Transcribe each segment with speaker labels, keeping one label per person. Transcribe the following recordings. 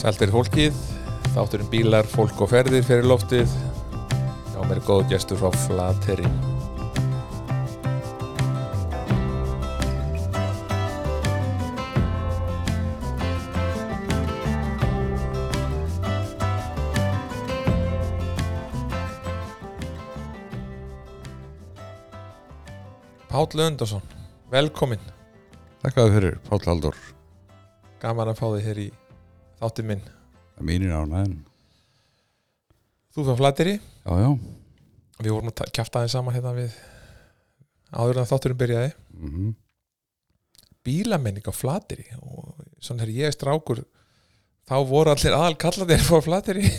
Speaker 1: Sælt er fólkið, þátturinn bílar, fólk og ferðir fyrir loftið Já, mér er góð gestur frá Flateri Páll Öndarsson, velkomin
Speaker 2: Þakkaði fyrir, Páll Halldór
Speaker 1: Gaman að fá þig hér í þáttið minn
Speaker 2: að mínir ánæðin
Speaker 1: Þú frá Flateri
Speaker 2: Já, já
Speaker 1: Við vorum að kjæfta aðeins saman hérna við áður en þátturinn byrjaði
Speaker 2: mm
Speaker 1: bílamenning á Flateri og svona þegar ég er strákur þá voru allir aðal kallatir fór Flateri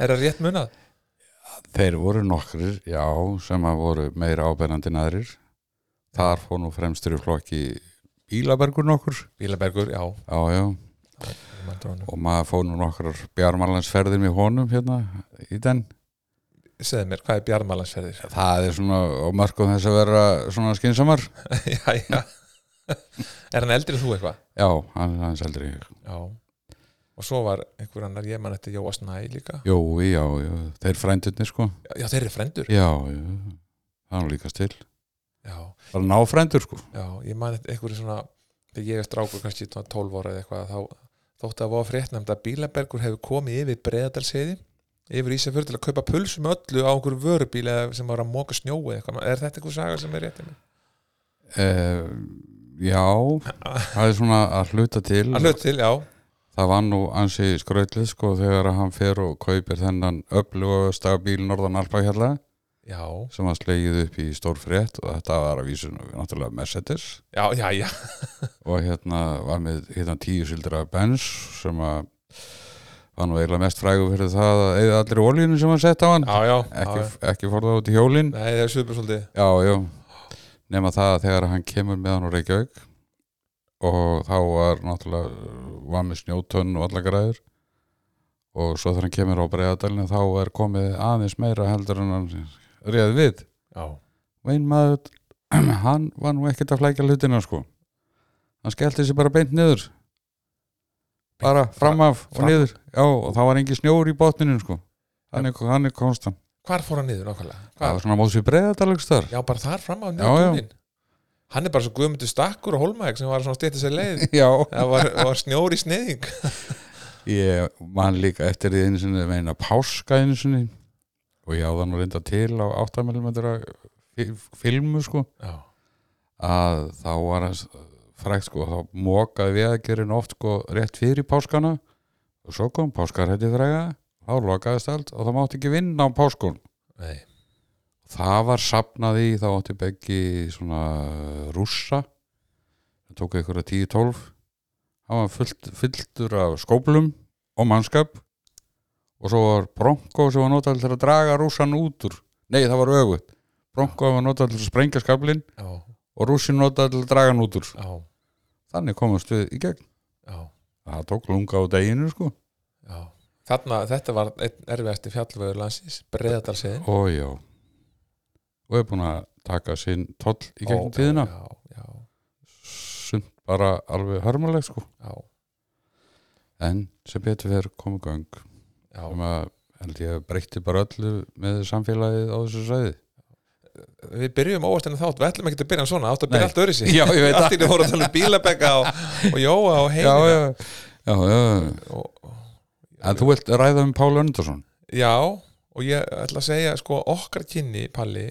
Speaker 1: Er það rétt munað?
Speaker 2: Þeir voru nokkrir, já, sem að voru meira ábennandi en aðrir Þar fór nú fremstur í flokki Bílabergur nokkur
Speaker 1: Bílabergur, já
Speaker 2: Já, já,
Speaker 1: ég man eftir honum.
Speaker 2: og maður fór nú nokkrar bjarmarlandsferðir með honum hérna í den
Speaker 1: Segðu mér, hvað er bjarmalansferðir?
Speaker 2: Það er svona á mörgum þess að vera svona skynsamar
Speaker 1: já, já Er hann eldri en þú eitthvað?
Speaker 2: Já, hann er aðeins eldri en ég.
Speaker 1: Já Og svo var einhver annar, ég man eftir Jóa Snæ líka
Speaker 2: Jó, já, já, þeir frændurnir sko
Speaker 1: Já, þeir eru frendur
Speaker 2: Já, já, það er nú líkast til
Speaker 1: Já,
Speaker 2: Bara ná frændur sko
Speaker 1: já, ég man eftir einhverju svona þegar ég er strákur kannski svona 12 ára eða eitthvað þá þótti að voða fréttnæmt að Bílabergur hefur komið yfir Breiðadalsiði yfir Ísafjörð til að kaupa pulsu með öllu á einhverju vörubíla sem var að móka snjói eitthvað. er þetta einhver saga sem er rétt um
Speaker 2: Eh, já, það er svona að hluta til.
Speaker 1: að hlut til, já,
Speaker 2: Það var nú ansi skröðlið sko þegar að hann fer og kaupir þennan öflugasta bíl Norðan Alpahjalla
Speaker 1: já,
Speaker 2: sem var slegið upp í stórfrétt og þetta var að vísu nú náttúrulega Mercedes
Speaker 1: já, já, já.
Speaker 2: og hérna var með hérna tíu sildra Benz sem að var nú eiginlega mest frægur fyrir það að eigða allir olíunum sem hann sett á hann
Speaker 1: já, já,
Speaker 2: ekki,
Speaker 1: já, já.
Speaker 2: ekki fór það út í hjólin
Speaker 1: Nei, það er svipur svolítið
Speaker 2: Já, já, nema það að þegar hann kemur með hann úr Reykjavík og þá var náttúrulega var með snjótönn og alla græður og svo þegar hann kemur á breiðadalina þá er komið aðeins meira heldur en hann réð við
Speaker 1: já,
Speaker 2: og einn maður, hann var nú ekkert að flækja hlutina sko hann skellti sér bara beint niður bara fram af og
Speaker 1: fram-
Speaker 2: niður, já og þá var engin snjór í botninu sko hann er, hann er konstant,
Speaker 1: hvar fór hann niður nákvæmlega?
Speaker 2: það
Speaker 1: Hvar?
Speaker 2: var svona móðs við breiðadalugst þar
Speaker 1: Já, bara þar fram á
Speaker 2: Já, já.
Speaker 1: niður túnin hann er bara svo guðmundur stakkur og hólmæk sem var svona stýttis að leið
Speaker 2: já
Speaker 1: það var, var snjóri sniðing
Speaker 2: Ég man líka eftir því einu sinni meina páska einu sinni og ég á það nú reynda til á 8mm filmu sko
Speaker 1: já,
Speaker 2: að þá var hans frækt sko þá mokaði veðagerinn oft sko rétt fyrir páskana og svo kom páskarhætti fræga þá lokaðist allt og það mátti ekki vinna á páskun
Speaker 1: nei,
Speaker 2: það var sapnað í þá átti beggi svona eh, rússa það tók einhverja 10-12 hann var fullt, fulltur af skóplum og mannskap og svo var Bronco sem var notað til að draga rússan út úr nei það var öfutt Bronco var notað til að sprengja skablin
Speaker 1: já,
Speaker 2: og rússin notað til að draga hann út úr
Speaker 1: já,
Speaker 2: þannig komast við í gegn
Speaker 1: já
Speaker 2: það tók lunga á deginu sko
Speaker 1: Já, þarna, þetta var einn erfiðasti fjallveður landsins, breyðadalsiðin
Speaker 2: og já og er búin að taka sinn toll í gegnum tíðina
Speaker 1: Já, já,
Speaker 2: sumt bara alveg hörmuleg sko
Speaker 1: já,
Speaker 2: en sem betur fyrir komu gang
Speaker 1: já.
Speaker 2: sem að held ég að breytti bara öllu með samfélagið á þessu sæði
Speaker 1: Við byrjum óvast en þátt, við ætlum ekki að byrja hann svona, átt að
Speaker 2: Nei.
Speaker 1: byrja allt öðru sig
Speaker 2: Já, ég veit
Speaker 1: Allt í því voru að tala um bílabekka og, og jóa og
Speaker 2: já,
Speaker 1: heimina
Speaker 2: já, já, já.
Speaker 1: Og, og,
Speaker 2: en þú vilt ræða um Pál Öndarsson
Speaker 1: Já, og ég ætla að segja sko, okkar kynni, Palli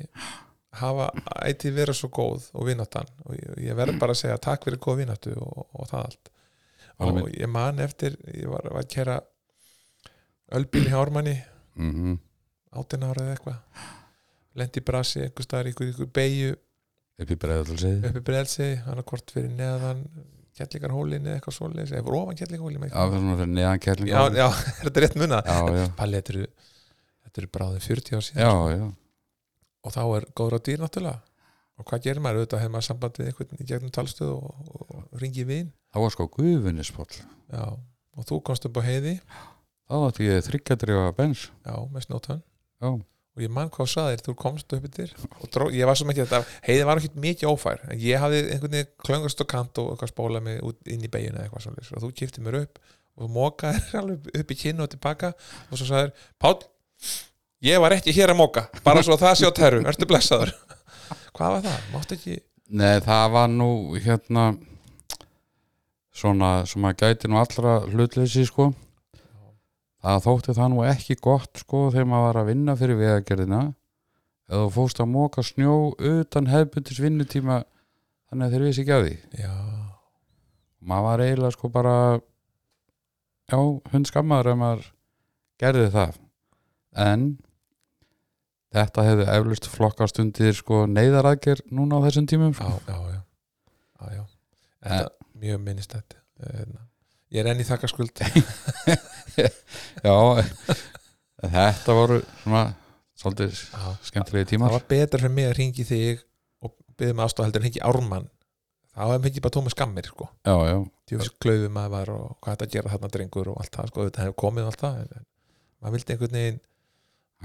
Speaker 1: hafa ætti verið svo góð og vináttan og ég, ég verð bara að segja takk fyrir góð vináttu og, og það allt
Speaker 2: Palli
Speaker 1: og
Speaker 2: minn.
Speaker 1: ég man eftir, ég var, var að kera Ölbíli hjá Ármanni
Speaker 2: mm -hmm.
Speaker 1: átján ára eða eitthvað lendi í brasi, einhver staðar, í einhver, einhver beigju
Speaker 2: upp í breiðalsið
Speaker 1: uppi brelsi, hann að hvort fyrir neðan kjallingarhólinni eða eitthvað svoleiðis eða voru ofan kjallingarhólinni
Speaker 2: af þessum fyrir neðan
Speaker 1: já,
Speaker 2: kærling
Speaker 1: já, já, er þetta rétt munna
Speaker 2: já, já,
Speaker 1: Palli, þetta eru, þetta eru bráðin 40 ár síðan
Speaker 2: já, já.
Speaker 1: og þá er góður á dýr náttúrulega og hvað gerir maður, auðvitað hefur maður samband við einhvern í gegnum talstöð og, og, og ringi vin
Speaker 2: það var sko guðvinnispall
Speaker 1: já, og þú komst upp á heiði
Speaker 2: þá átti ég þryggjadrifa bens
Speaker 1: já, með snótan
Speaker 2: já,
Speaker 1: og ég mann hvað saðir, þú komst upp yfir og dró, ég var svo mikið þetta, heiði var ekki mikið ófær, en ég hafði einhvern veginn klöngast og kant og eitthvað spóla mig út inn í beginu eða eitthvað svolítið, og þú kipti mér upp og móka er alveg upp í kinn og tilbaka og svo sagður, Páll ég var ekki hér að móka, bara svo að það sé á terru ertu blessaður hvað var það, máttu ekki
Speaker 2: Nei, það var nú hérna svona sem að gæti nú allra hlutleysi sko það þótti það nú ekki gott sko þegar maður var að vinna fyrir vegagerðina eða þú fórst að móka snjó utan hefbundis vinnutíma þannig að þeir vissi ekki að því
Speaker 1: já,
Speaker 2: maður var eiginlega sko bara já, hund skammaður ef maður gerði það en þetta hefði eflust flokkast undir sko neyðaraðger núna á þessum tímum
Speaker 1: já,
Speaker 2: sko.
Speaker 1: já, já, já, já. Þetta, mjög minnist þetta ég er enn í þakkarskuld
Speaker 2: Já, þetta voru svona svolítið
Speaker 1: já
Speaker 2: skemmtilegi
Speaker 1: það
Speaker 2: tímar
Speaker 1: var betra fyrir mig að ringi þig og byggði mig aðstofa heldur en ringi Ármann þá hefði ekki bara tóma skammir sko
Speaker 2: Já, já,
Speaker 1: djúfis klauði maður var og hvað þetta að gera þarna drengur og allt það sko, þetta hefði komið og allt það en- en maður vildi einhvern veginn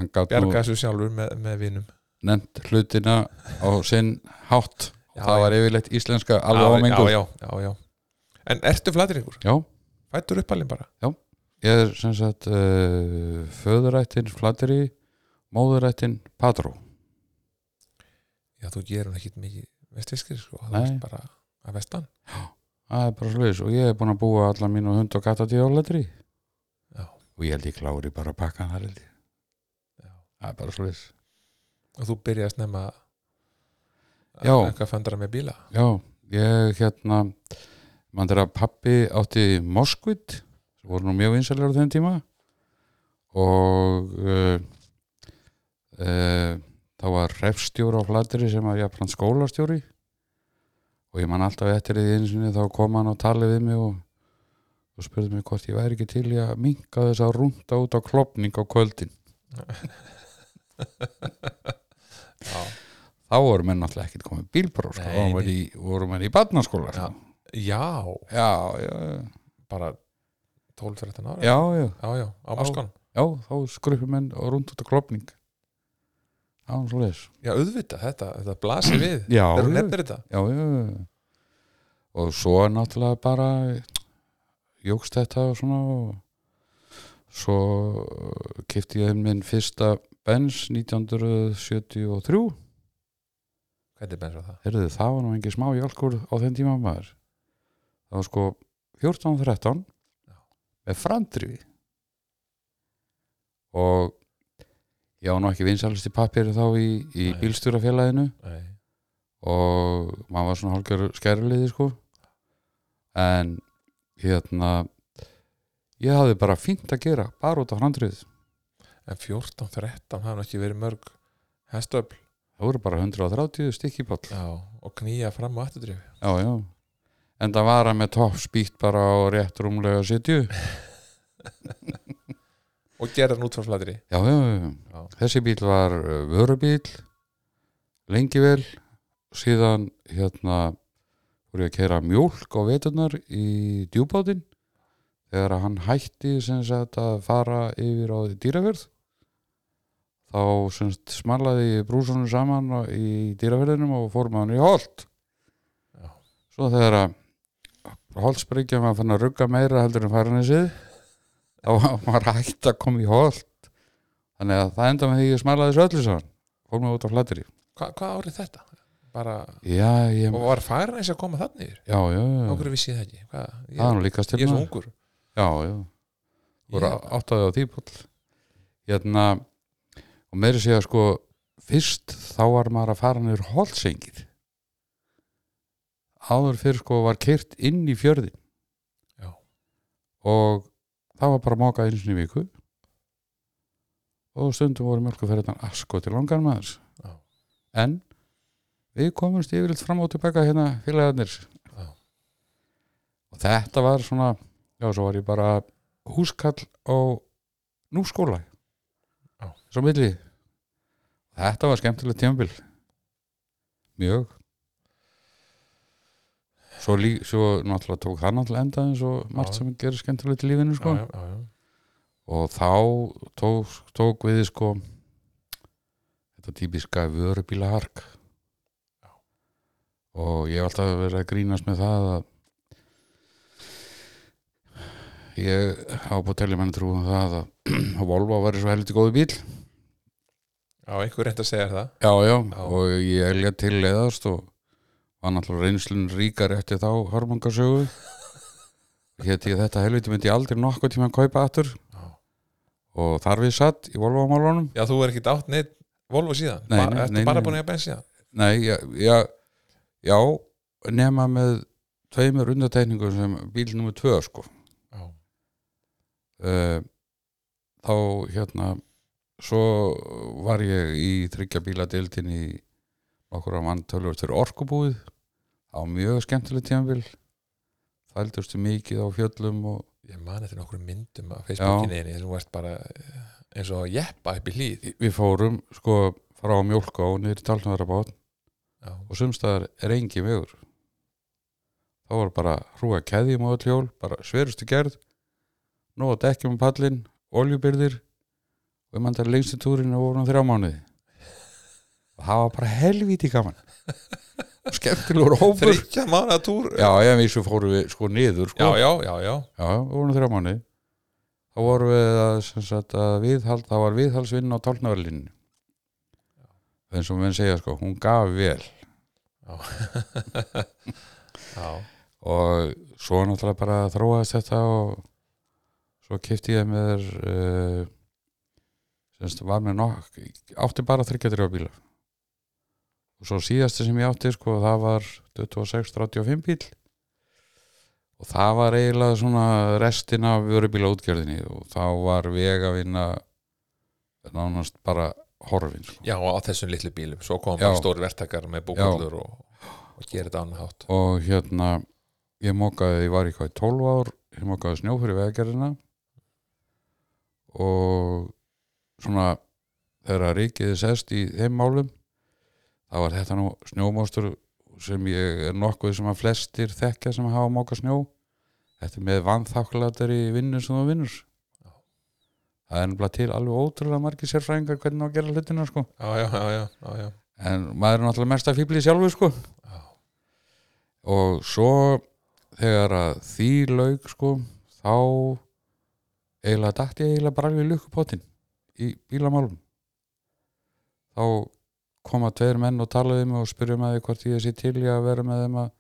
Speaker 2: hann gat nú
Speaker 1: bjarga þessu sjálfur með, með vinum
Speaker 2: nefnt hlutina á sinn hátt
Speaker 1: Já,
Speaker 2: það var yfirleitt íslenska alveg
Speaker 1: já,
Speaker 2: ámengur
Speaker 1: já, já, já, já. en ertu flatringur?
Speaker 2: Já,
Speaker 1: fættur uppalinn bara?
Speaker 2: ég er sem sagt uh, föðurættin Flateri móðurættin Patró
Speaker 1: já, þú gerum ekkit mikið vestfiskir sko, þú
Speaker 2: Nei.
Speaker 1: veist bara að vestan
Speaker 2: Það er bara sliðis og ég er búin að búa alla mínu hund og katta tíu á letri
Speaker 1: Já.
Speaker 2: og ég held ég klári bara að pakka hann þar held ég
Speaker 1: Já.
Speaker 2: Það er bara sliðis
Speaker 1: og þú byrjaði snemma að
Speaker 2: Já.
Speaker 1: eitthvað fandara með bíla
Speaker 2: Já, ég hérna mann þeirra pappi átti Moskvit, sem voru nú mjög vinsælir á þeim tíma og uh, uh, þá var refstjóri á flatri sem var jafnfrann skólastjóri og ég man alltaf eftir því einu sinni þá kom hann og talið við mig og, og spurði mig hvort ég væri ekki til í að minka þess að rúnda út á klopning á kvöldin
Speaker 1: já,
Speaker 2: þá voru menn náttúrulega ekkert komið bílpróf sko,
Speaker 1: Nei,
Speaker 2: þá voru
Speaker 1: nei.
Speaker 2: menn í- voru menn í barnaskóla sko.
Speaker 1: já
Speaker 2: já, já, já,
Speaker 1: bara 12-13 ára
Speaker 2: já, já.
Speaker 1: já, já, á Moskan
Speaker 2: Já, þá skruppi menn og rúnd út á klopning Já, svo leis
Speaker 1: já, auðvitað, þetta, þetta blasir við
Speaker 2: Já,
Speaker 1: þegar hún
Speaker 2: já,
Speaker 1: nefnir þetta
Speaker 2: já, já Og svo er náttúrulega bara jógst þetta og svona og svo kipti ég minn fyrsta Benz 1973
Speaker 1: hvernig bennir það?
Speaker 2: Heyrðu, það var nú engi smá jálkur á þeim tíma maður Það var sko 14-13
Speaker 1: Já.
Speaker 2: með frandrifi og ég á nú ekki vinsælusti pappir þá í, í
Speaker 1: Nei.
Speaker 2: bílstjórafélaginu
Speaker 1: Nei.
Speaker 2: og maður var svona hálfgjör skæruleiði sko en hérna ég hafði bara fínt að gera bara út af frandrifið
Speaker 1: en 14-13 hafði ekki verið mörg hestöfl
Speaker 2: það voru bara 130 stykki ball
Speaker 1: já, og knýja fram og afturdrif
Speaker 2: Já, já. En það var hann með topp spýtt bara á rétt rúmlega 70.
Speaker 1: og gera hann út frá flatri
Speaker 2: Já, já, já.
Speaker 1: já,
Speaker 2: Þessi bíl var uh, vörubíl, lengi vel, síðan hérna voru ég að kera mjólk á veturnar í djúbátinn þegar að hann hætti sem sagt að fara yfir á dýraverð þá sem sagt smallaði ég brúsunum saman og- í dýraverðinum og fór með hann í holt
Speaker 1: Já.
Speaker 2: svo þegar að holtsbryggjan var fann að rugga meira heldur en faranisið þá var maður hægt að koma í holt þannig að það enda með því ég smallaði þessu öllu saman fór með út á flatteri
Speaker 1: Hva, hvað árið þetta? bara,
Speaker 2: já, ég,
Speaker 1: og var farin eins að koma þannig yfir
Speaker 2: já, já, já.
Speaker 1: okkur vissi ég það ekki Hva,
Speaker 2: það er
Speaker 1: ég,
Speaker 2: nú líka
Speaker 1: ég er svo
Speaker 2: stilna
Speaker 1: ungur
Speaker 2: já, já, voru
Speaker 1: Ég-
Speaker 2: áttaði á því pól hérna og meiri segja sko fyrst þá var maður að fara niður holtsengið áður fyrir sko var kert inn í fjörðin
Speaker 1: Já.
Speaker 2: og það var bara móka einu sinni í viku og stundum voru mjölkuferðan asko til langan maður
Speaker 1: Já.
Speaker 2: en við komumst yfirleitt fram og tilbaka hérna félagarnir
Speaker 1: Já.
Speaker 2: og þetta var svona já, svo var ég bara húskall á núskóla
Speaker 1: Já.
Speaker 2: svo milli þetta var skemmtilegt tímabil mjög svo, lí, svo náttúrulega tók það náttúrulega enda eins og margt
Speaker 1: Já.
Speaker 2: sem gerir skemmtilegt í lífinu sko.
Speaker 1: já, já, já, já.
Speaker 2: og þá tók, tók við sko þetta típiska vörubílahark og ég hef alltaf verið að grínast með það að ég hafa búið að telja menn trú um það að Volvo var svo heldur góði bíl
Speaker 1: Já, einhver reynd að segja þér það
Speaker 2: já, já, og ég elja til leiðast og var náttúrulega reynslun ríkar eftir þá hörmungasögu hétt ég þetta helviti myndi ég aldrei nokkuð tíma að kaupa aftur
Speaker 1: Já.
Speaker 2: og þar við satt í Volvo-málunum
Speaker 1: Já, þú er ekki dátt neitt Volvo síðan
Speaker 2: Nei, nei,
Speaker 1: bara, Ertu
Speaker 2: nei,
Speaker 1: bara
Speaker 2: nei.
Speaker 1: búin að eiga benn síðan
Speaker 2: Nei, já, já, já nema með tveimur undartekningum sem bíl nummer tvö sko
Speaker 1: Já,
Speaker 2: uh, þá hérna svo var ég í þryggja bíladildin í okkur á mann tölvöld fyrir orkubúið á mjög skemmtileg tímabil þældustu mikið á fjöllum og
Speaker 1: ég man eftir nokkrum myndum á Facebookinni þinni þar sem þú ert bara eh, eins og jeppa upp í hlýð
Speaker 2: við fórum sko frá mjólka og niður í talnaðarabát
Speaker 1: Já,
Speaker 2: og sumstaðar er engin vegur þá var bara hrúa keðjum á öll hjól bara sverustu gerð nóg að dekkjum um pallin, oljubyrðir og ég mann það lengstu túrin og vorum þrjá mánuði og það var bara helvíti gaman skemmtilegur hópur
Speaker 1: þryggja mánaða túr
Speaker 2: já, ég vissu fórum við sko
Speaker 1: já,
Speaker 2: niður sko.
Speaker 1: já, já, já.
Speaker 2: Já, við vorum þrjá mánu þá vorum við að, sem sagt, að viðhald, það var viðhaldsvinna á tálnaverlinni eins og menn segja sko, hún gaf vel
Speaker 1: já.
Speaker 2: og svo náttúrulega bara þróaðist þetta og svo kipti ég mér uh, semst var mér nokk átti bara þryggjadrjá bíla og svo síðasti sem ég átti sko það var 26-35 bíl og það var eiginlega svona restin af vörubíla útgjörðinni og þá var vegavinna nánast bara horfin sko.
Speaker 1: já, á þessum litlu bílum svo kom
Speaker 2: Já.
Speaker 1: bara stóri verktakar með búkallur og, og gerir þetta annað hátt
Speaker 2: og hérna ég mokaði, ég var eitthvað í 12 ár ég mokaði snjó fyrir vegagerðina og svona þegar ríkiði sest í þeim málum þá var þetta nú snjómóstur sem ég er nokkuð sem að flestir þekkja sem hafa mokað snjó þetta er með vanþakklættar í vinnu sem þú vinnur það er ennbla til alveg ótrúlega margir sérfræðingar hvernig á að gera hlutina sko
Speaker 1: já, já, já, já, já, já.
Speaker 2: en maður er náttúrulega mesta fíblið sjálfur sko
Speaker 1: Já.
Speaker 2: og svo þegar að því lauk sko þá eiginlega dætti ég eiginlega bara alveg lukkupotinn í bílamálum þá koma tveir menn og talaði mig og spurði mig hvort ég sé til í að vera með þeim að,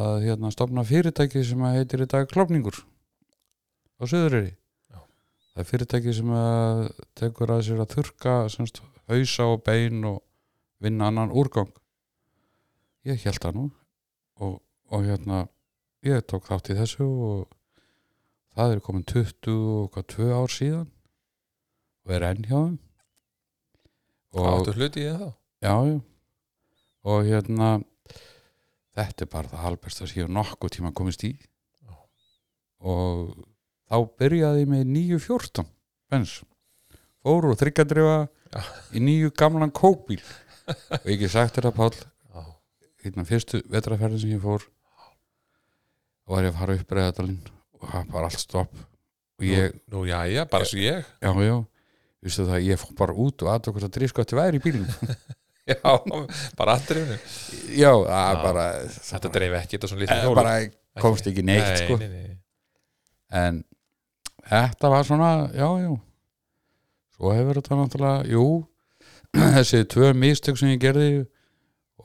Speaker 2: að hérna, stopna fyrirtæki sem að heitir í dag klopningur á Suðurri
Speaker 1: Já.
Speaker 2: það er fyrirtæki sem að tekur að sér að þurka semst, hausa og bein og vinna annan úrgang ég held það nú og, og hérna ég tók þátt í þessu og það er komin 20 og hvað 2 ár síðan og er enn hjá þeim og
Speaker 1: áttu hluti í það þá?
Speaker 2: já, já og hérna þetta er bara það halbesta sem ég hef nokkuð tíma komist í
Speaker 1: Já.
Speaker 2: og þá byrjaði ég með 9.14 bens fóru og þryggandrifa
Speaker 1: Já.
Speaker 2: í nýju gamlan kókbíl og ég hef sagt þetta Páll
Speaker 1: já,
Speaker 2: hérna fyrstu vetraferðin sem ég fór og var ég að fara upp reyðadalinn og það var allt stopp og ég,
Speaker 1: nú, nú, já, já, bara svo ég
Speaker 2: já, já viðstu það, ég fór bara út og aðtökast að drískvætti væri í bílinn
Speaker 1: já, bara andrifinu
Speaker 2: já, það
Speaker 1: Já.
Speaker 2: bara
Speaker 1: þetta dreif ekki þetta svona
Speaker 2: Eh,
Speaker 1: lítið
Speaker 2: bara komst ekki neitt
Speaker 1: nei,
Speaker 2: sko.
Speaker 1: nei, nei.
Speaker 2: en þetta var svona já, já svo hefur þetta náttúrulega, jú þessi tvö mistök sem ég gerði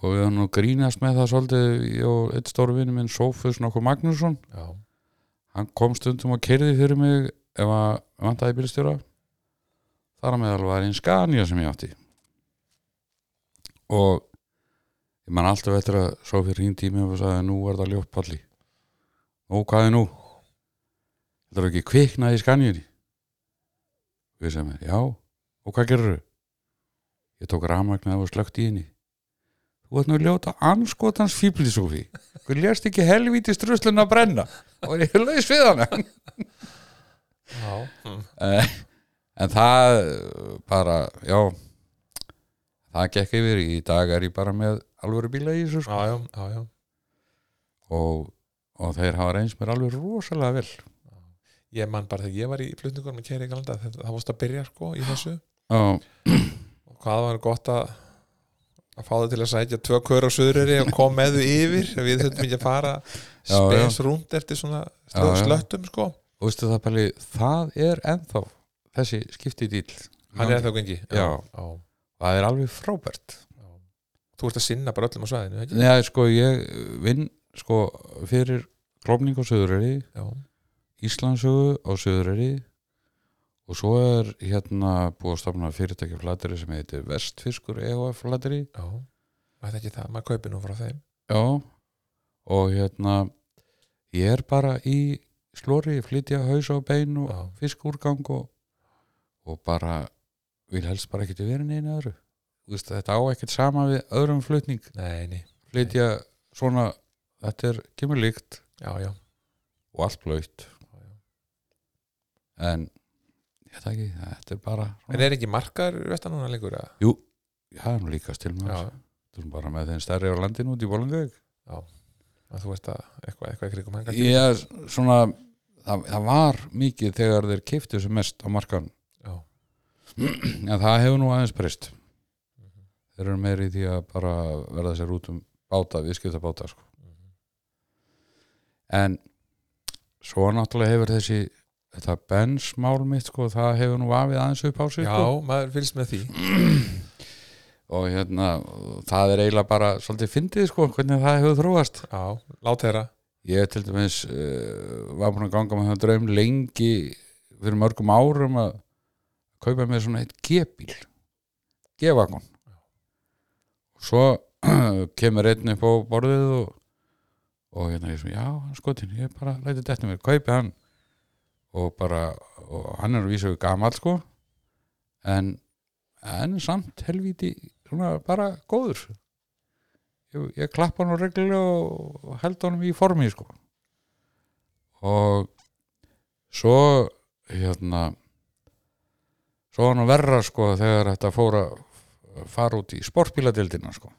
Speaker 2: og við hann nú grínast með það svolítið, ég og eitt stórvinni minn Sófus nokkuð Magnússon
Speaker 1: Já,
Speaker 2: hann kom stundum og kerði fyrir mig ef að vantaði bílstjóra þar að meðal var einn Scania sem ég átti og ég man alltaf eftir að svo fyrir hinn tími og sagði nú er það ljóppalli og hvað er nú þetta er ekki kviknaði í Scaniunni við sem er, já og hvað gerðu ég tók rafmagnað og slökkt í henni þú ert nú ljóta anskotans fíbli Sofi, hver lérst ekki helvíti struslun að brenna og ég laus við hana
Speaker 1: já, mm.
Speaker 2: Eh, en það eh, bara, já það gekk yfir, í dag er ég bara með alvöru bíla í þessu sko.
Speaker 1: já, já, já, já.
Speaker 2: og, og þeir hafa reyns mér alveg rosalega vel
Speaker 1: Ég man bara þegar ég var í flutningunum að keira í galanda það, það varst að byrja sko í þessu
Speaker 2: já,
Speaker 1: og hvað var gott að að fá þau til að sækja tvö kör á söðurri og kom með þau yfir við þurfum ekki að fara
Speaker 2: Já, já.
Speaker 1: spes rúnd eftir svona
Speaker 2: Já, já.
Speaker 1: slöttum sko
Speaker 2: og veistu það Palli, það er ennþá þessi skipti dýl
Speaker 1: hann er ennþá gengi
Speaker 2: Já.
Speaker 1: Já.
Speaker 2: það er alveg frábært
Speaker 1: Já. þú ert að sinna bara öllum á svæðinu ekki?
Speaker 2: Nei, sko, ég vinn sko, fyrir klofning á Suðureyri
Speaker 1: Já.
Speaker 2: Íslandsögu á Suðureyri og svo er hérna búið að stofna fyrirtækja flateri sem heitir Vestfiskur E EHF flateri
Speaker 1: Já. Mætti ekki það, maður kaupi nú frá þeim
Speaker 2: Já og hérna ég er bara í slóri flytja haus og bein og
Speaker 1: Já.
Speaker 2: fiskúrgang og, og bara vil helst bara ekkert vera neina öðru Þú veist, þetta á ekkert sama við öðrum flutning
Speaker 1: Nei, nei,
Speaker 2: flytja svona, þetta er kemur líkt
Speaker 1: já, já,
Speaker 2: og allt blöytt
Speaker 1: já, já.
Speaker 2: en ég veit ekki, þetta er bara
Speaker 1: En er ekki markar vestan núna lengur? eða?
Speaker 2: það er nú líka stil með
Speaker 1: Já,
Speaker 2: þessu Þú erum bara með þeim stærri á landinu út í Bólingauk
Speaker 1: að þú ert að eitthvað, eitthvað í krigum hengar
Speaker 2: Ég, svona það, það var mikið þegar þeir keiftu sem mest á markan
Speaker 1: Já,
Speaker 2: en það hefur nú aðeins breyst
Speaker 1: Mhm.
Speaker 2: þeir eru meiri í því að bara verða sér út um báta, viðskipta báta sko.
Speaker 1: Mhm.
Speaker 2: en svo náttúrulega hefur þessi þetta bensmál mitt sko, það hefur nú vafið aðeins upp á sig
Speaker 1: já
Speaker 2: sko.
Speaker 1: maður fylgst með því
Speaker 2: og hérna það er eiginlega bara svolítið fyndið sko, hvernig það hefur þróast
Speaker 1: Já, lát þeirra
Speaker 2: Ég til dæmis uh, var búin að ganga með það draum lengi fyrir mörgum árum að kaupa mér svona eitt G-bíl G-vagon og svo kemur einn upp á borðið og, og hérna ég svona, já, hann er skotin ég bara læti þetta mér, kaupi hann og bara, og hann er að vísa við gamall sko en, en samt helvíti svona bara góður ég, ég klappa hann á reglulega og held honum í formi sko. og svo hérna svo var hann verra sko þegar þetta fór að fara út í sportbíladeildina sko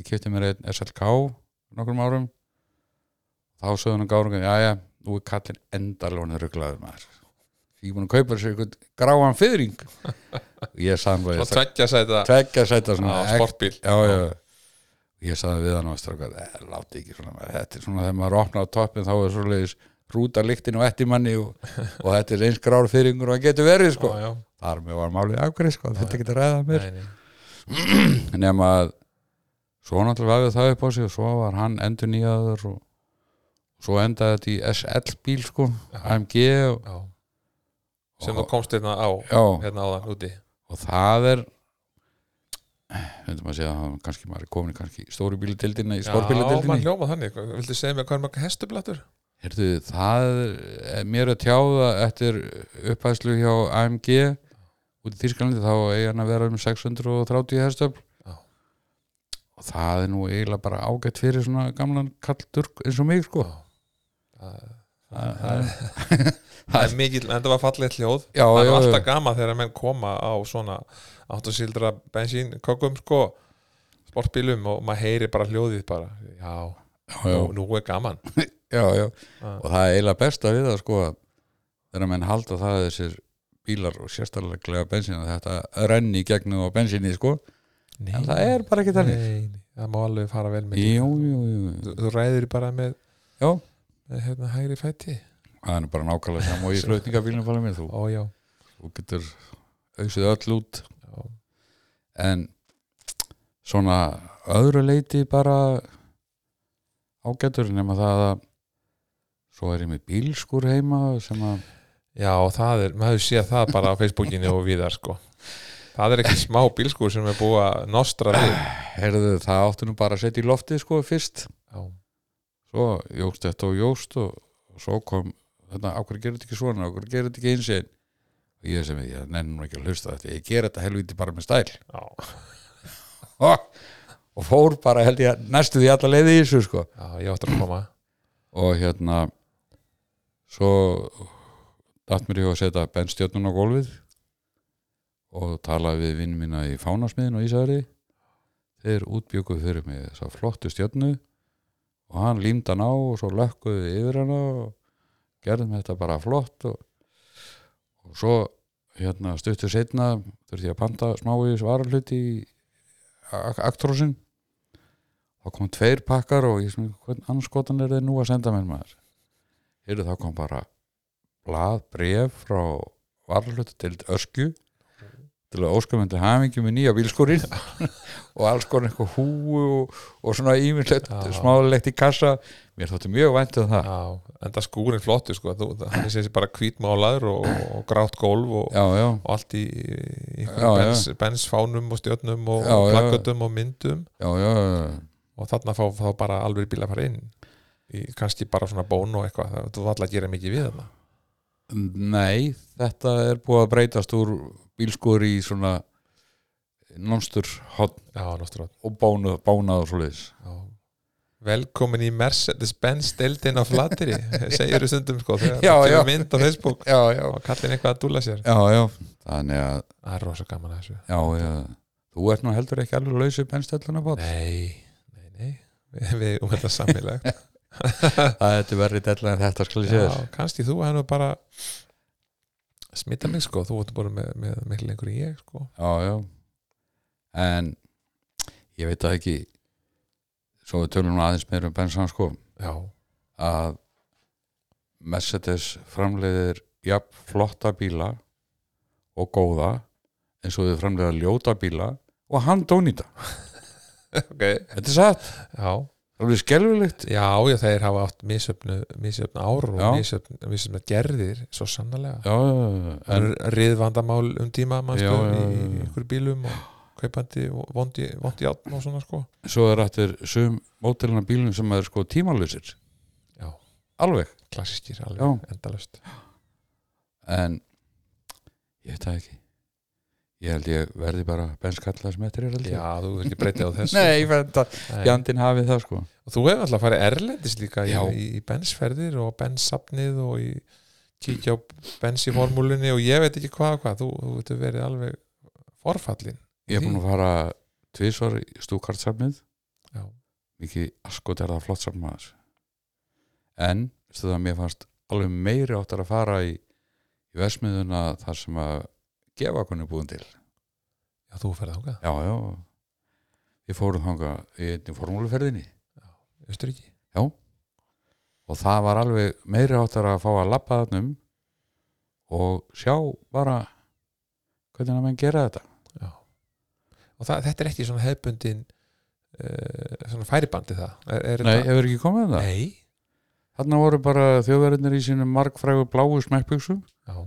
Speaker 2: ég kefti mér einn SLK nokkrum árum þá sögðu hann gárungan jæja, nú er kallinn endarlónu rugglaður maður ég er búin að kaupa sér einhvern gráan fyrring ég
Speaker 1: Svo
Speaker 2: sagði hann
Speaker 1: tveggja sæta
Speaker 2: tvekja sæta
Speaker 1: á
Speaker 2: svona ek-
Speaker 1: sportbíl
Speaker 2: já, já. ég saði við hann og strákar, "Eh, láti ekki svona maður. þetta er svona þegar maður opnar á toppin þá er svoleiðis rúta líktin og etti manni og, og þetta er eins grár fyrringur og það getur verið sko,
Speaker 1: Já, já,
Speaker 2: þar með var málið afgrið sko, þetta getur ræðað mér
Speaker 1: nei, nei
Speaker 2: nema að svo náttúrulega vafið það upp á sig og svo var hann endur nýjaður og svo endaði þetta í SL bíl sko,
Speaker 1: Já,
Speaker 2: AMG og,
Speaker 1: já. Sem þú
Speaker 2: og,
Speaker 1: komst hérna á
Speaker 2: já,
Speaker 1: Hérna á það, úti
Speaker 2: og það er hundum að segja að kannski maður er komin í kannski stóri bílutildina í
Speaker 1: Já, maður
Speaker 2: spórbílutildinni
Speaker 1: hljóma þannig Viltu segja mér hvað er mörg hestublattur?
Speaker 2: Hérðu, það er mér er að tjáða eftir upphæðslu hjá AMG út í Þýskalandi þá eigi hann að vera um 630 herstöfl
Speaker 1: Já.
Speaker 2: og það er nú eiginlega bara ágætt fyrir svona gamlan kalldurk eins og mig sko
Speaker 1: Það
Speaker 2: Það- það er-
Speaker 1: það er mikill, en það var fallið hljóð
Speaker 2: Já,
Speaker 1: það er
Speaker 2: já,
Speaker 1: alltaf
Speaker 2: já,
Speaker 1: gama þegar menn koma á svona áttasildra bensínkökum sko sportbílum og maður heyri bara hljóðið bara já,
Speaker 2: já,
Speaker 1: Nú, nú er gaman
Speaker 2: já, já.
Speaker 1: Ah.
Speaker 2: og það er eiginlega besta við það sko að þegar menn halda það að þessir bílar og sérstaklega bensín að þetta renni í gegnum á bensinni sko
Speaker 1: nei,
Speaker 2: en það er bara ekki þannig
Speaker 1: nei, nei, það má alveg fara vel með því.
Speaker 2: Jú, jú, jú,
Speaker 1: þú, þú ræður bara með,
Speaker 2: já
Speaker 1: með hérna, hægri fæti
Speaker 2: það er nú bara nákvæmlega saman og í flutningabílnum fara mér þú,
Speaker 1: ó já,
Speaker 2: þú getur auksið öll út
Speaker 1: já,
Speaker 2: en svona öðru leiti bara ágætur nema það að svo er ég með bílskur heima sem að
Speaker 1: já það er, maður sé það bara á Facebookinu og viðar sko það er ekki smá bílskur sem er búið að nostra við
Speaker 2: heyrðu það áttu nú bara að setja í loftið sko fyrst
Speaker 1: já,
Speaker 2: svo jógst þetta og jógst og og svo kom þetta, ákveður gerir þetta ekki svona ákveður gerir þetta ekki eins einn og ég sem ég nenni nú ekki að hlusta á þetta ég ger þetta helviti bara með stæl
Speaker 1: já,
Speaker 2: Ha! og fór bara held ég næstu því alla leiði í þessu sko
Speaker 1: já, ég áttur að koma
Speaker 2: og hérna svo datt mér í hug að setja benstjörnun á gólfið og talaði við vinn mína í fánasmiðin og Ísari þeir útbjúkuð fyrir mig þess að flottu stjörnu og hann límd hann á og svo lökkuðu við yfir hana og gerðum þetta bara flott og, og svo hérna stuttu setna þurfti ég að panta smávegis varahluti í aktrósin þá kom tveir pakkar og ég svona, hvern anskotan er þeir nú að senda mér maður heyrðu þá kom bara blað bref frá varlutu til ösku til að óskamöndi hamingi með nýja bílskúrin og alls konar eitthvað húu og, og svona íminnlegt
Speaker 1: Já.
Speaker 2: smálegt í kassa mér þótti mjög vænt um það
Speaker 1: Já, en það skúrin flottu sko, þú, það hann er sér bara hvítmálaður og, og grátt gólf og,
Speaker 2: já, já,
Speaker 1: og allt í, í
Speaker 2: Já, já.
Speaker 1: bens, bensfánum og stjörnum og,
Speaker 2: Já,
Speaker 1: og
Speaker 2: já.
Speaker 1: plakkötum og myndum
Speaker 2: já, já, já.
Speaker 1: og þarna fá þá bara alveg bíla að fara inn í, kannski bara svona bón og eitthvað það, þú ætla að gera mikið við þarna
Speaker 2: Nei, þetta er búið að breytast úr bílskúri í svona námstur hot
Speaker 1: Já, náttúrulega
Speaker 2: og bánuð, bánað og svoleiðis
Speaker 1: já. Velkomin í Mercedes-Benz deildin á flatteri segir þú stundum sko þegar
Speaker 2: Já,
Speaker 1: það
Speaker 2: já.
Speaker 1: kemur mynd á Facebook
Speaker 2: Já, já,
Speaker 1: og kallin eitthvað að dúla sér
Speaker 2: já, já Þannig að,
Speaker 1: Það er rosa gaman að þessu
Speaker 2: já, já Þú ert nú heldur ekki alveg lausið bennstelluna bát
Speaker 1: Nei, nei, nei Við- Við um þetta samilegt
Speaker 2: Það er þetta verri della en þetta skal ég segja
Speaker 1: Já, kannski þú hefur bara smita mig sko, þú vartu bara með, með miklu lengur en ég sko
Speaker 2: Já, já En ég veit það ekki Svo við tölum nú aðeins meira um bensan sko
Speaker 1: Já,
Speaker 2: að Mercedes framleiðir jafn flotta bíla og góða eins og þau framleiða ljóta bíla og hann dónýta.
Speaker 1: ok
Speaker 2: Þetta er satt,
Speaker 1: Já,
Speaker 2: það er skelfilegt.
Speaker 1: já, já þeir hafa átt misöfnu, misöfnu ár og
Speaker 2: Já.
Speaker 1: misöfnu, misöfnu gerðir svo sannarlega
Speaker 2: Já, en,
Speaker 1: en, Riðvandamál um tíma manstu,
Speaker 2: Já, já,
Speaker 1: í,
Speaker 2: já,
Speaker 1: í
Speaker 2: já.
Speaker 1: ykkur bílum og kaupandi og vondi, vondi átn og svona sko
Speaker 2: svo er eftir sum mótilina bílum sem er sko tímalösir.
Speaker 1: Já.
Speaker 2: Alveg.
Speaker 1: klassískir alveg,
Speaker 2: Já.
Speaker 1: endalaust
Speaker 2: En ég veit það ekki. Ég held ég verði bara benskallað sem eftir er held ég.
Speaker 1: Já, þú verður ekki breytið á þessu
Speaker 2: Nei, ég verði það.
Speaker 1: Nei.
Speaker 2: Jandinn hafið það sko.
Speaker 1: Og þú hefur alltaf farið erlendis líka í,
Speaker 2: Já.
Speaker 1: í, í bensferðir og benssapnið og í kíkja á bens í formúlunni og ég veit ekki hvað og hvað, þú, þú veitur verið alveg forfallin
Speaker 2: Ég er búin að fara tvisvar í stúkartsafnið
Speaker 1: Já.
Speaker 2: mikið askot er það flott safn maður en veistu það mér fannst alveg meiri áttar að fara í, í versmiðuna þar sem að gefa konu búin til
Speaker 1: Já, þú ferð þangað,
Speaker 2: já, já ég fóruð þanga í einni formúluferðinni
Speaker 1: austur ekki
Speaker 2: og það var alveg meiri áttar að fá að labba þarnum og sjá bara hvernig að menn gera þetta
Speaker 1: og það, þetta er ekki svona hefbundin uh, svona færibandi það er, er
Speaker 2: Nei,
Speaker 1: þetta,
Speaker 2: hefur ekki komið það?
Speaker 1: nei
Speaker 2: Þarna voru bara þjóðverðinir í sínum margfrægu bláu smekkbyggsum
Speaker 1: Já,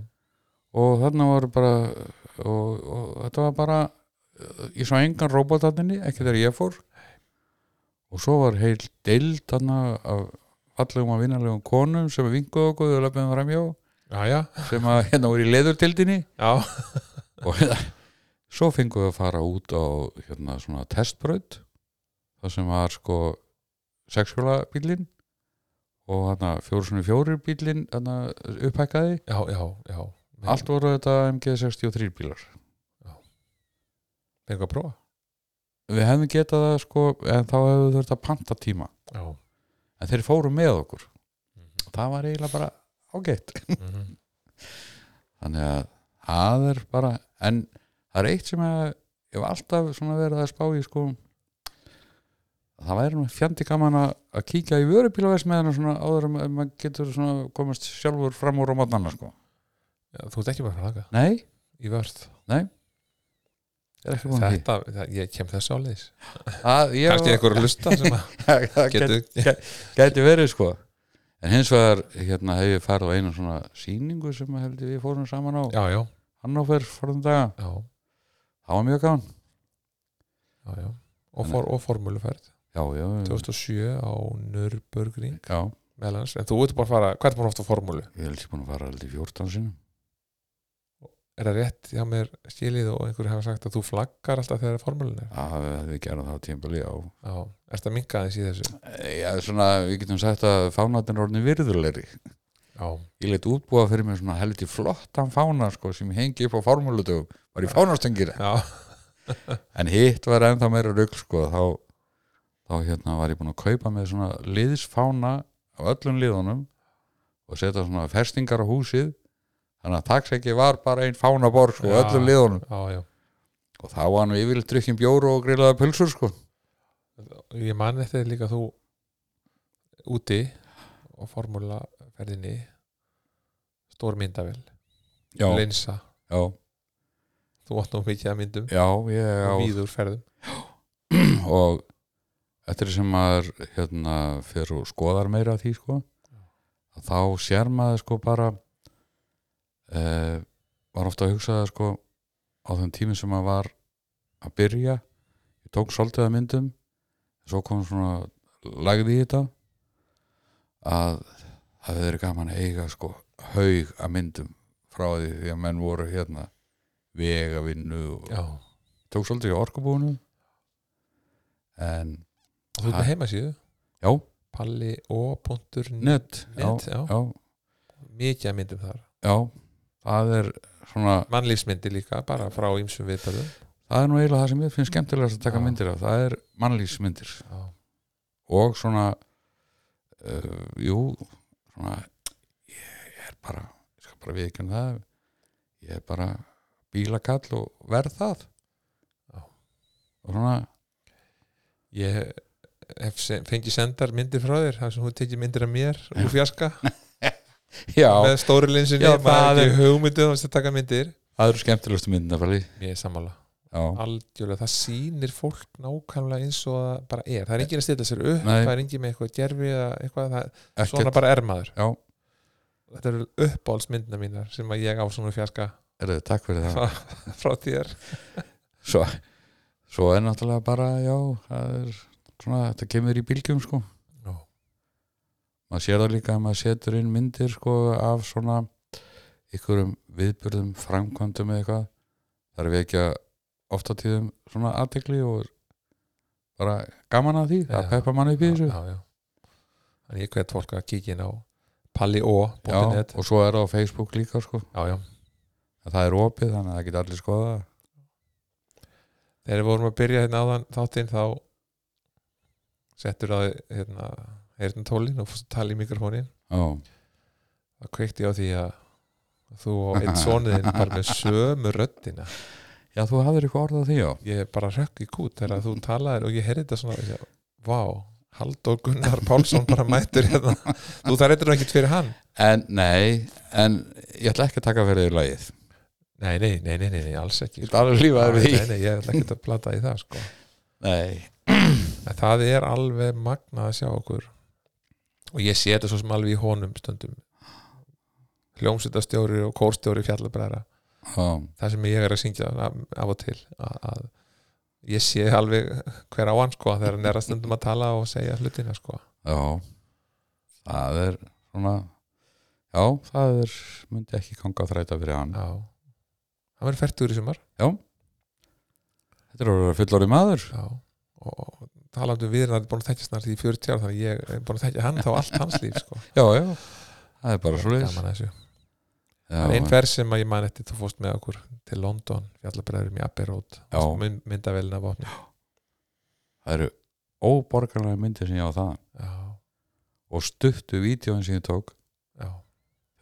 Speaker 2: og þarna voru bara og, og þetta var bara uh, ég sá engan robot þarna, inni, ekki þegar ég fór og svo var heil deild þarna af fallegum og vinnalegum konum sem vinguðu okkur og löpum framjá
Speaker 1: já, já,
Speaker 2: sem að hérna voru í leðurdildinni
Speaker 1: já.
Speaker 2: og hérna, svo fengum við að fara út á hérna svona testbraut það sem var sko sexhjóla bílinn og hérna fjóru svona fjórir bílinn hérna upphækkaði
Speaker 1: já, já, já. Fengum-
Speaker 2: allt voru þetta MG63 bílar
Speaker 1: fengum að prófa
Speaker 2: við hefðum getað það sko en þá hefðu þurft að panta tíma
Speaker 1: Já,
Speaker 2: en þeir fóru með okkur og það var eiginlega bara ágætt
Speaker 1: mhm.
Speaker 2: þannig að það er bara en það er eitt sem að ég hef alltaf svona verið að spá í sko að það væri nú fjandi gaman að, að kíkja í vörubílaversmiðina svona áður en ma- maður getur svona komast sjálfur fram úr á matnana sko
Speaker 1: Já, þú ert ekki bara að fara þangað
Speaker 2: nei,
Speaker 1: í vörð
Speaker 2: það er ekki búin að því
Speaker 1: Þetta, það, ég kem þessu áliðis
Speaker 2: Það- ég-
Speaker 1: Kannski einhver að hlusta sem að
Speaker 2: það getur
Speaker 1: getur
Speaker 2: Gæti verið sko En hins vegar hérna hef ég farið á einu svona sýningu sem að held ég við fórum saman á
Speaker 1: Já, já,
Speaker 2: Hannover fórum daga,
Speaker 1: já,
Speaker 2: það var mjög gaman
Speaker 1: já, já. Og, for, og formúluferð
Speaker 2: Já, já, já,
Speaker 1: 2007 á Nürburgring
Speaker 2: já
Speaker 1: meðal annars, en þú ert bara að fara, hvað er búin ofta formúlu?
Speaker 2: Ég held ég búin að fara held í 14 sinum
Speaker 1: Er það rétt hjá mér skilið og einhverju hafa sagt að þú flaggar alltaf þegar formúlun er?
Speaker 2: Það hefði gerað það tímpili á
Speaker 1: Já, ertu að minka aðeins í þessu?
Speaker 2: Já, svona, við getum sagt að fánatin orðin virðulegri
Speaker 1: Já,
Speaker 2: Ég leitt útbúa fyrir mér svona heldur flottan fána sko sem ég hengi upp á formúlutugum var í fánastengir
Speaker 1: já,
Speaker 2: en hitt var ennþá meira rugl sko þá, þá hérna var ég búinn að kaupa með svona liðsfána af öllum liðunum og setja svona festingar á húsið þannig að taksekki var bara einn fánaborg sko,
Speaker 1: Já.
Speaker 2: öllum liðunum
Speaker 1: já, já.
Speaker 2: og þá var hann yfirleitt drukkin bjóru og grillaða pulsur sko
Speaker 1: Ég man þetta líka þú úti og formúlaferðinni stór myndavél,
Speaker 2: já,
Speaker 1: linsa
Speaker 2: já,
Speaker 1: þú átt nú mikið að myndum
Speaker 2: já, ég á
Speaker 1: og víður ferðum
Speaker 2: og eftir sem maður hérna fer og skoðar meira af því sko að þá sér maður sko bara e, var ofta að hugsa það sko á þeim tími sem maður var að byrja ég tók svolítið að myndum svo kom svona lagði í þetta að það verður gaman að eiga sko haug að myndum frá því því að menn voru hérna vegavinnu og
Speaker 1: já.
Speaker 2: tók svolítið í orkubúinu en
Speaker 1: og þú ert með heimasíðu
Speaker 2: já,
Speaker 1: palli.o.net
Speaker 2: net, já,
Speaker 1: já.
Speaker 2: já,
Speaker 1: mikið að myndum þar
Speaker 2: já það er svona,
Speaker 1: mannlífsmyndir líka, bara frá ýmsum viðtalum
Speaker 2: það er nú eiginlega það sem ég finnst skemmtilegast að taka
Speaker 1: Já.
Speaker 2: myndir af, það er mannlýsmyndir
Speaker 1: já,
Speaker 2: og svona uh, jú, svona ég er bara, ég skal bara viðkjum það ég er bara bílakall og verð það
Speaker 1: Já.
Speaker 2: og svona,
Speaker 1: ég hef se- fengið sendar myndir frá þér þar sem hún tekið myndir af mér úr fjarska
Speaker 2: já
Speaker 1: með stóri linsinni,
Speaker 2: Já, það
Speaker 1: maður er ekki hugmyndu að taka myndir
Speaker 2: það eru skemmtilegustu myndina fæli
Speaker 1: mér er sammála,
Speaker 2: já,
Speaker 1: algjörlega það sýnir fólk nákvæmlega eins og það bara er, það er enginn að stilla sér upp
Speaker 2: Nei.
Speaker 1: það er enginn með eitthvað gerfi eða eitthvað, það,
Speaker 2: ekkert,
Speaker 1: svona bara er maður
Speaker 2: já
Speaker 1: þetta eru uppáhaldsmyndina mínar sem að ég á svona úr fjarska
Speaker 2: er þetta takk fyrir það
Speaker 1: frá þér
Speaker 2: svo, svo er náttúrulega bara já, það er svona þetta kemur í bylgjum sko
Speaker 1: Já.
Speaker 2: maður sér það líka að maður setur inn myndir sko af svona ykkurum viðbyrðum framkvæmdum eða eitthvað það er við ekki að ofta tíðum svona aðtekli og bara gaman að því, það
Speaker 1: Já.
Speaker 2: peppa mann upp í þessu
Speaker 1: já, já. en ég hvet fólk að kíkja inn á
Speaker 2: já,
Speaker 1: palli.o.net
Speaker 2: og svo er það á Facebook líka sko
Speaker 1: já, já.
Speaker 2: En það er opið þannig að það geta allir skoða það.
Speaker 1: þegar við vorum að byrja hérna áðan þáttinn þá settur það hérna hérna tólin og fórst að tala í mikrofónin
Speaker 2: já,
Speaker 1: þá kveikti ég á því að þú og einn soniðin bara með sömu röddina
Speaker 2: já þú hafðir eitthvað orðað því já
Speaker 1: ég bara rökk í kút þegar þú talaðir og ég heyrði þetta svona og ég, vá, Halldór Gunnar Pálsson bara mættur hérna þú það reytur nú ekkert fyrir hann
Speaker 2: en nei, en ég ætla ekki að taka fyrir því lagið
Speaker 1: nei, nei, nei, nei, nei, nei alls ekki sko."
Speaker 2: Ég ætla alveg að lífa þér við
Speaker 1: nei,
Speaker 2: því.
Speaker 1: nei, ég ætla ekkert að blata í það sko.
Speaker 2: Nei.
Speaker 1: en það er alveg magnað að sjá okkur og ég sé þetta svo sem alveg í honum stundum hljómsveitastjóri og kórstjóri fjallabræðra
Speaker 2: Já,
Speaker 1: það sem ég er að syngja af af og til að, að ég sé alveg hver á hann sko þegar hann er að stundum að tala og segja hlutina sko
Speaker 2: já. Það er svona, já, það er, myndi ekki ganga að þræta fyrir hann.
Speaker 1: já hann verður færtur í sumar
Speaker 2: Þetta er að vera fullorði maður.
Speaker 1: já og og talandi um við hann er búin að þekkja snart í 40 ára þannig ég er búin að þekkja hann þá allt hans líf sko
Speaker 2: Já, já, það er bara svo leiðis.
Speaker 1: gaman að þessu Það er einn
Speaker 2: Já,
Speaker 1: ferð sem að ég man eftir þú fórst með okkur til London, fjallabræðurum í Abbey Road
Speaker 2: Já.
Speaker 1: mynd, myndavélina vopni
Speaker 2: það eru óborgarlega myndir sem ég á það.
Speaker 1: já,
Speaker 2: Og stuttu vídjóin sem ég tók,
Speaker 1: já,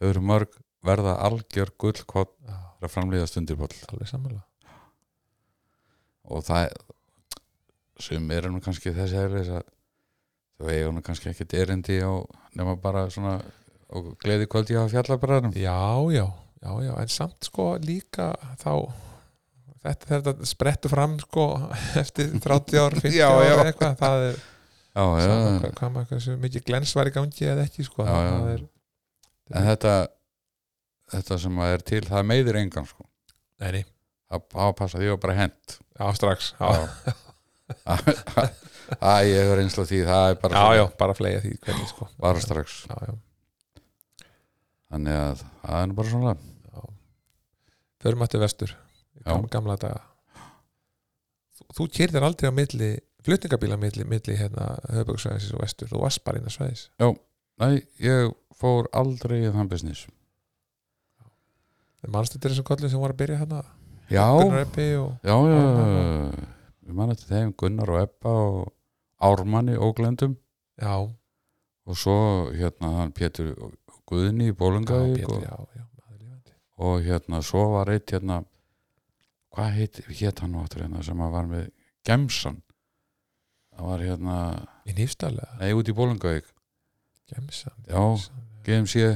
Speaker 2: þau eru mörg verða algjör gullkott
Speaker 1: já,
Speaker 2: að framleiða stundirboll.
Speaker 1: alveg sammála
Speaker 2: Og það, sem eru nú kannski þessi eðlis að þau eiga nú kannski ekkert erindi á, nema bara svona, og gleði kvöldi á fjallabræðum.
Speaker 1: já, já, já, já, en samt sko líka þá þetta, þetta sprettu fram sko eftir 30 ár, 50
Speaker 2: Já,
Speaker 1: ár
Speaker 2: já.
Speaker 1: eða eitthvað, það er
Speaker 2: Já, já,
Speaker 1: sama hvað, hvað maður hversu mikið glens var í gangi eða ekki sko
Speaker 2: Já,
Speaker 1: það,
Speaker 2: já.
Speaker 1: það er,
Speaker 2: en þetta þetta sem að er til, það meiðir engan sko.
Speaker 1: neini,
Speaker 2: það það passa því að bara hent
Speaker 1: já, strax já, já,
Speaker 2: að ég hefur einsla því það er bara,
Speaker 1: já, bara flega því hvernig sko
Speaker 2: bara strax
Speaker 1: já, já,
Speaker 2: þannig að það er nú bara svona
Speaker 1: já förum aftur vestur í
Speaker 2: Já.
Speaker 1: gamla, gamla daga þú, þú kyrðir aldrei á milli flutningabíla á milli, milli hérna höfböksvæðis og vestur, þú varst bara inn að svæðis
Speaker 2: nei, ég fór aldrei í þann business
Speaker 1: mannstu til þessum kollum sem voru að byrja hérna
Speaker 2: já, já,
Speaker 1: Gunnar Eppi og
Speaker 2: já
Speaker 1: Já, já,
Speaker 2: við mann eftir þeim Gunnar og Ebba og Ármanni og Glendum
Speaker 1: já,
Speaker 2: og svo hérna hann Pétur Guðni í
Speaker 1: já,
Speaker 2: Bólungavík og,
Speaker 1: Pétur, já, já, maður lifandi.
Speaker 2: og hérna svo var eitt hérna hvað heit, hét hann nú áttur hérna sem að var með Gemsan það var hérna,
Speaker 1: í nýfstalega,
Speaker 2: nei út í Bólungavík
Speaker 1: gemsandi
Speaker 2: Já. GMC